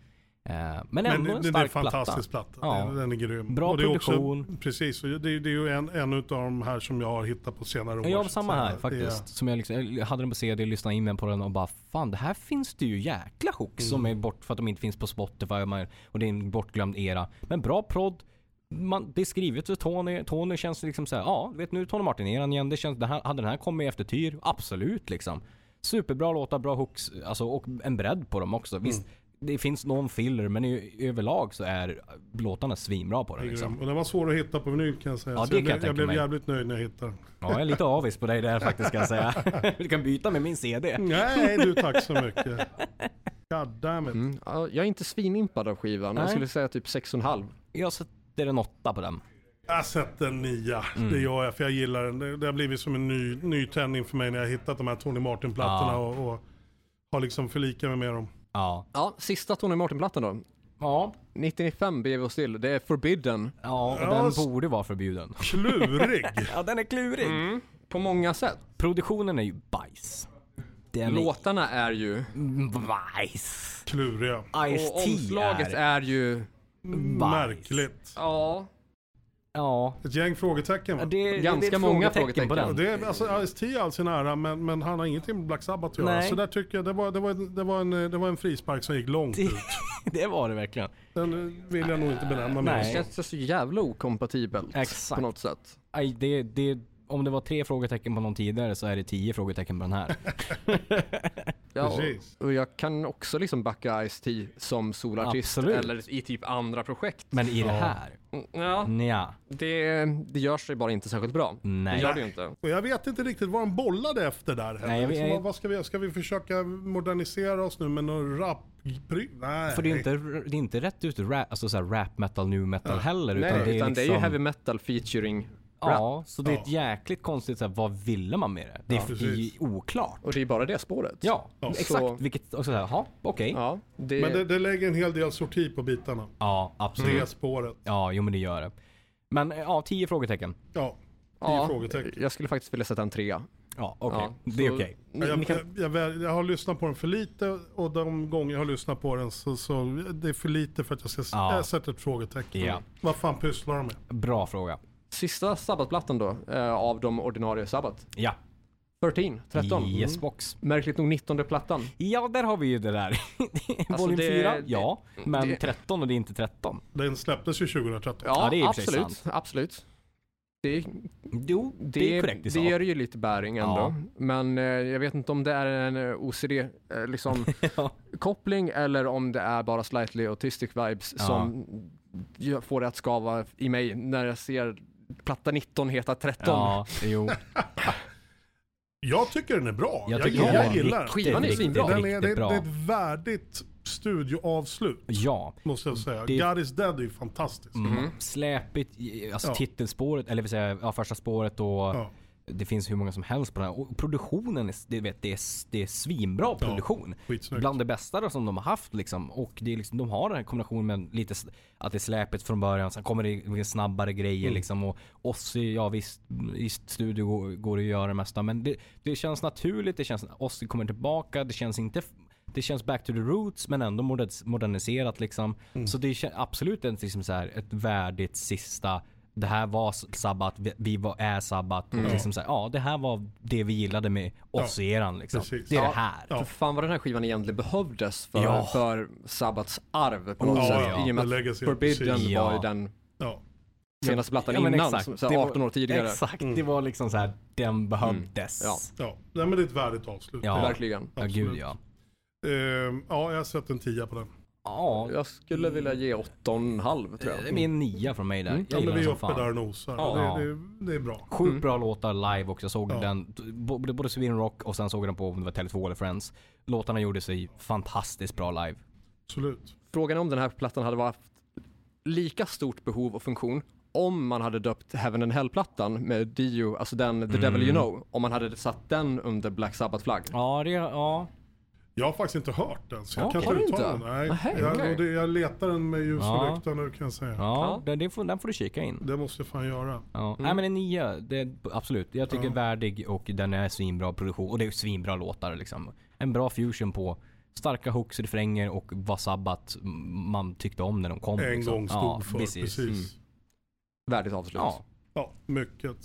men
Men
ändå en
det, det är en
stark platta.
fantastisk platta. Den, den är grym.
Bra
Och det är också-
produktion.
Precis, och det, det är ju en, en av de här som jag har hittat på senare år.
Ja, Jag
så
var
att
samma
säga.
här
Det är-
faktiskt. Som jag, liksom, jag hade den på CD, lyssnade in mig på den och bara fan det här finns det ju jäkla hooks som
Mm.
är bort för att de inte finns på Spotify och, man, och det är en bortglömd era. Men bra prodd. Man, det är skrivet för Tony. Tony känns liksom såhär, ja du vet nu är Tony Martin eran igen. Det känns, det här, hade den här kommit efter Tyr? Absolut liksom. Superbra låtar, bra hooks alltså, och en bredd på dem också. Visst,
Mm.
det finns någon filler men i, överlag så är låtarna svinbra på
det
den
är
liksom.
grym. Och den var svår att hitta på vinyl kan jag säga.
Ja,
Så
det
jag,
kan jag
blev-
tänka
jag blev
mig.
jävligt nöjd när jag hittade den.
Ja, jag är lite avis på dig där faktiskt kan jag säga. Du kan byta med min CD.
Nej du, tack så mycket. God damn it.
Mm, ja, jag är inte svinimpad av skivan. Jag
Nej.
skulle säga typ 6,5.
Jag sätter en åtta på den.
Jag sätter en nia.
Mm.
Det gör jag, för jag gillar den. Det, det har blivit som en ny, ny tändning för mig när jag har hittat de här Tony Martin-plattorna
Ja.
och, och har liksom förlikat mig med dem.
Ja.
Ja, sista Tony Martin-plattan då.
Ja.
1995 beger vi oss till. Det är Forbidden.
Ja, och
Ja,
den
s-
borde vara förbjuden.
Klurig!
Ja, den är klurig.
På många sätt.
Produktionen är ju bajs. Den
Låtarna är ju...
är bajs.
Kluriga.
Och
Ice-T
omslaget är ju...
bajs.
Märkligt.
Ja.
Ja.
Ett gäng frågetecken va?
Det, det-
Ganska
det är ett
många
på
frågetecken.
den.
Det är, alltså, Ice-T är all sin ära, men, men han har ingenting med Black Sabbath att göra.
Nej.
Så där tycker jag, det var, det, var, det, var en, det var en frispark som gick långt ut.
det var det verkligen.
Den vill jag nog inte benämna
Det
mig.
Nej.
känns så jävla okompatibelt
Exakt.
på något sätt.
Aj, det, det, om det var tre frågetecken på någon tidigare så är det tio frågetecken på den här.
Ja,
Precis.
och jag kan också liksom backa Ice-T som solartist
Absolut.
eller i typ andra projekt.
Men i det här?
Mm, Ja,
Nja.
det, det gör sig bara inte särskilt bra.
Nej.
Det gör det ju inte.
Och jag vet inte riktigt vad de bollade efter där heller.
Nej, jag vet-
liksom, vad- vad ska, vi, ska vi försöka modernisera oss nu med någon rap? pry- Nej.
För det är ju inte, det är inte rätt ut rap, alltså så här rap metal, nu metal heller. Utan,
Nej,
det, är
utan
liksom,
det är ju heavy metal featuring rap.
Ja, så det är ett jäkligt konstigt så här, vad ville man med det? Det är
precis.
i- oklart.
Och det är bara det spåret.
Ja, exakt.
Så-
Vilket, och så här, ja, okej. Ja.
Ja, det,
Men det, det lägger en hel del sorti på bitarna.
Mm. absolut.
Det spåret.
Ja, jo men det gör det. Men eh, ja, tio frågetecken.
Ja, det är
ja,
frågetecken.
jag skulle faktiskt vilja sätta en trea.
Ja, okej.
Ja,
det är
så-
okej.
Jag,
Ni
jag,
kan-
jag, väl- jag har lyssnat på den för lite och de gånger jag har lyssnat på den så, så det är för lite för att jag ska s-
Ja.
jag sätter ett frågetecken.
Ja.
Vad fan pysslar de med?
Bra fråga.
Sista sabbatplattan då, eh, av de ordinarie sabbat.
Ja,
13, 13.
yes box.
Märkligt nog 19 plattan.
Ja, där har vi ju det där.
Alltså,
Volym
det-
4,
det-
ja. Men
det-
13 och det är inte 13.
Den släpptes ju 2013.
Ja,
Ja, det är i och för sig
absolut. Absolut. Det,
Jo, det,
det,
är korrekt i
det
sak.
ger ju lite bäring ändå.
Ja.
Men eh, jag vet inte om det är en eh, OCD eh, liksom,
Ja.
koppling eller om det är bara slightly autistic vibes
Ja.
som jag får det att skava i mig när jag ser platta 19 heta 13.
Ja, jo.
Jag tycker den är bra.
Jag
Jag,
tycker
jag,
den är
gillar den.
Skivan är
riktigt,
svinbra.
Den är,
riktigt
det, det
bra.
är ett värdigt studioavslut.
Ja.
Måste jag säga.
Det- Mm.
God is dead är ju fantastisk.
Släpigt, i- alltså
Ja.
titelspåret, eller vill säga ja, första spåret och
Ja.
det finns hur många som helst på den här. Och produktionen, är, s- det, vet, det, är, s- det är svinbra produktion.
skitsnyggt.
Bland det bästa då, som de har haft liksom. Och det är liksom, de har den här kombinationen med lite, s- att det är släpigt från början, sen kommer det lite snabbare grejer
Mm.
liksom. Och Ozzy, ja visst, i studio går- går det att göra det mesta. Men det, det känns naturligt, det känns, Ozzy kommer tillbaka, det känns inte f- det känns back to the roots men ändå moder- moderniserat liksom.
Mm.
Så det är absolut inte liksom så här ett värdigt sista. Det här var s- sabbat, vi- vi var, är sabbat.
Mm.
Och liksom så här, ja, det här var det vi gillade med oss i eran liksom.
precis.
Det är
Ja.
det här.
För fan vad den här skivan egentligen behövdes för,
Ja. Oh,
för Sabbats arv på något
Ja,
sätt.
ja.
I och med
The
att
Legacy,
Forbidden
precis.
var ju
Ja.
den
Ja.
senaste plattan
men
innan,
exakt.
som- så
Det var-
18 år tidigare.
Exakt, det var liksom så här, den behövdes.
Ja.
Ja, Nej, men det är ett värdigt avslut.
Ja.
Verkligen.
Mm. Ja, gud ja.
Ehm, ja, jag har sett en tia på den.
Ja,
Jag skulle vilja ge 8,5 tror
det
jag.
är min nia från mig där. Jag gillar
Ja, men vi
den
är
som
uppe
fan.
där och nosar.
Ja.
Det, det, det är bra.
Sjukt bra låtar live också. Jag såg den, både, både Sweden Rock och sen såg jag den på om det var Tele2 eller Friends. Låtarna gjorde sig fantastiskt bra live.
Absolut.
Frågan är om den här plattan hade haft lika stort behov och funktion om man hade döpt Heaven and Hell-plattan med Dio, alltså den The Devil
Mm.
You Know, om man hade satt den under Black Sabbath-flagg.
Ja, det, ja.
Jag har faktiskt inte hört den, så jag
Ja,
kan
har du
inte uttala
inte?
den. Nej.
Nähä, okej.
jag, och det, jag letar den med ljus
Ja.
och lykta nu kan jag säga.
ja Mm, den, den, får, den får du kika in.
Det måste jag fan göra.
Ja.
Mm.
Nej men en nia, det, absolut. Jag tycker värdig och den är svinbra produktion. Och det är svinbra låtar liksom. En bra fusion på starka hooks, refränger och vad sabbat man tyckte om när de kom.
En
liksom.
gång stod
ja, Mm.
för. Precis.
Värdigt avslut.
Ja.
Ja, mycket.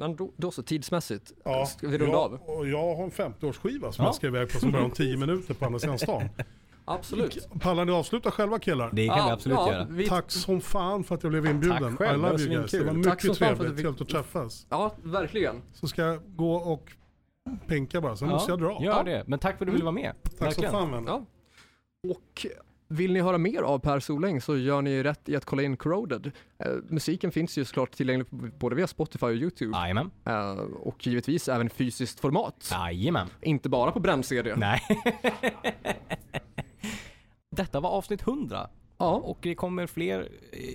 Men då, då så, tidsmässigt.
Ja,
Ska vi runda av?
jag, och Jag har en 50-årsskiva som
Ja.
jag ska iväg på som börjar om 10 minuter på andra sidan stan.
Absolut.
Pallar ni avsluta själva killar?
Det kan vi absolut
ja,
göra.
Vi,
Tack som fan för att jag blev inbjuden.
Tack själv, det
I
var
love you guys. Det
svinkul.
var
Tack
mycket
som fan för att
trevligt.
vi-
Trevligt att träffas.
ja, verkligen.
Så ska jag gå och pinka bara, sen måste jag dra.
Gör det. Men tack för att du ville vara med.
Tack som
Verkligen.
fan vänner.
Ja. Och vill ni höra mer av Per Soläng så gör ni rätt i att kolla in Corroded. Eh, musiken finns ju såklart tillgänglig på- både via Spotify och YouTube.
Jajamän.
Eh, och givetvis även i fysiskt format.
Jajamän.
Inte bara på bränd-CD.
Nej. Detta var avsnitt 100.
Ja,
Och det kommer fler, eh,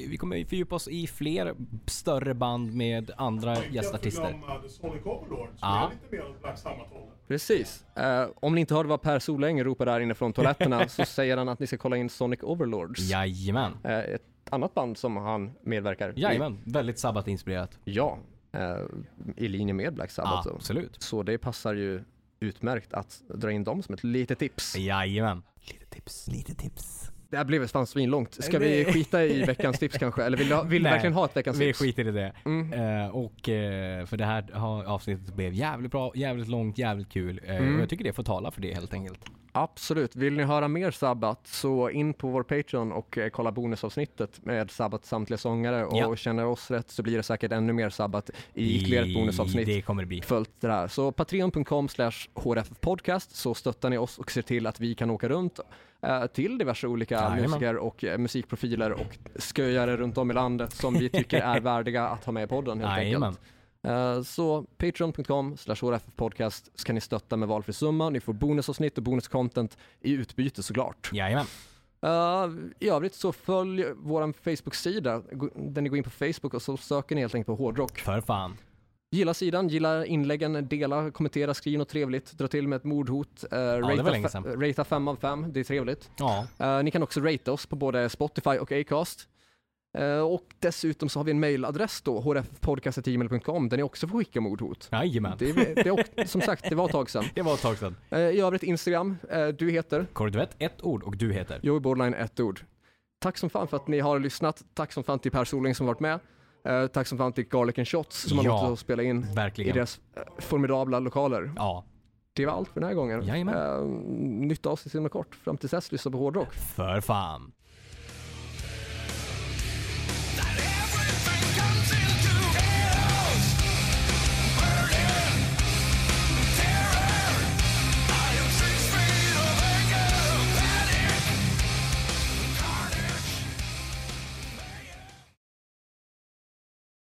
vi kommer fördjupa oss i fler större band med andra gästartister.
The Sonic Overlords.
Ja.
Det är lite mer åt Blacksamma-hållet.
precis. Eh, om ni inte hörde vad Per Soläng ropar där inne från toaletterna så säger han att ni ska kolla in Sonic Overlords.
Jajamän.
Eh, ett annat band som han medverkar i.
Jajamän. Väldigt Sabbat-inspirerat.
Ja, eh, i linje med Black Sabbath. då.
Absolut.
Så det passar ju utmärkt att dra in dem som ett litet tips.
Jajamän.
Lite tips. Lite tips.
Det här blev fan svinlångt. Ska vi skita i veckans tips kanske? Eller vill du, ha- vill du
Nej,
verkligen ha ett veckans
Vi
tips?
skiter i det.
Mm.
Eh, och eh, för det här har- avsnittet blev jävligt bra, jävligt långt, jävligt kul. Eh,
Mm.
Och jag tycker det får tala för det helt enkelt.
Absolut. Vill ni höra mer Sabbat så in på vår Patreon och eh, kolla bonusavsnittet med Sabbat samtliga sångare. Och
Ja.
känner oss rätt så blir det säkert ännu mer Sabbat i ytterligare ett bonusavsnitt.
Det kommer det bli.
följt det här. Så patreon.com slash hrfpodcast så stöttar ni oss och ser till att vi kan åka runt eh, till diverse olika
Jajamän.
musiker och eh, musikprofiler och sköjare runt om i landet som vi tycker är värdiga att ha med i podden helt
Jajamän.
enkelt. Eh, Så patreon.com slash hrfpodcast så kan ni stötta med valfri summa. Ni får bonusavsnitt och bonuscontent i utbyte såklart.
Jajamän.
Eh, I övrigt så följ vår Facebook-sida Gå- där ni går in på Facebook och så söker ni helt enkelt på hårdrock.
För fan.
Gilla sidan, gilla inläggen, dela, kommentera, skriv något trevligt, dra till med ett mordhot, eh,
var
ratea
länge
fe-
sedan.
ratea 5 av 5, det är trevligt.
Ja.
Eh, ni kan också ratea oss på både Spotify och Acast. Eh, och dessutom så har vi en mailadress då, hrfpodcast.gmail.com, där ni också får skicka mordhot.
Jajamän.
Det, är- det, är ock- som sagt, det var ett tag sedan.
Det var ett tag sedan.
Eh, I övrigt Instagram, eh, du heter
Korduett, ett ord och du heter?
Joey Borderline, ett ord. Tack som fan för att ni har lyssnat. Tack som fan till Per Soling som varit med. Eh, tack som fan till Garlic and Shots som har
Ja.
låtit oss spela in i
Verkligen.
deras eh, formidabla lokaler.
Ja.
Det var allt för den här gången.
Jajamän.
Eh, nytt avsnitt inom kort. Fram till dess, lyssna på hårdrock.
För fan.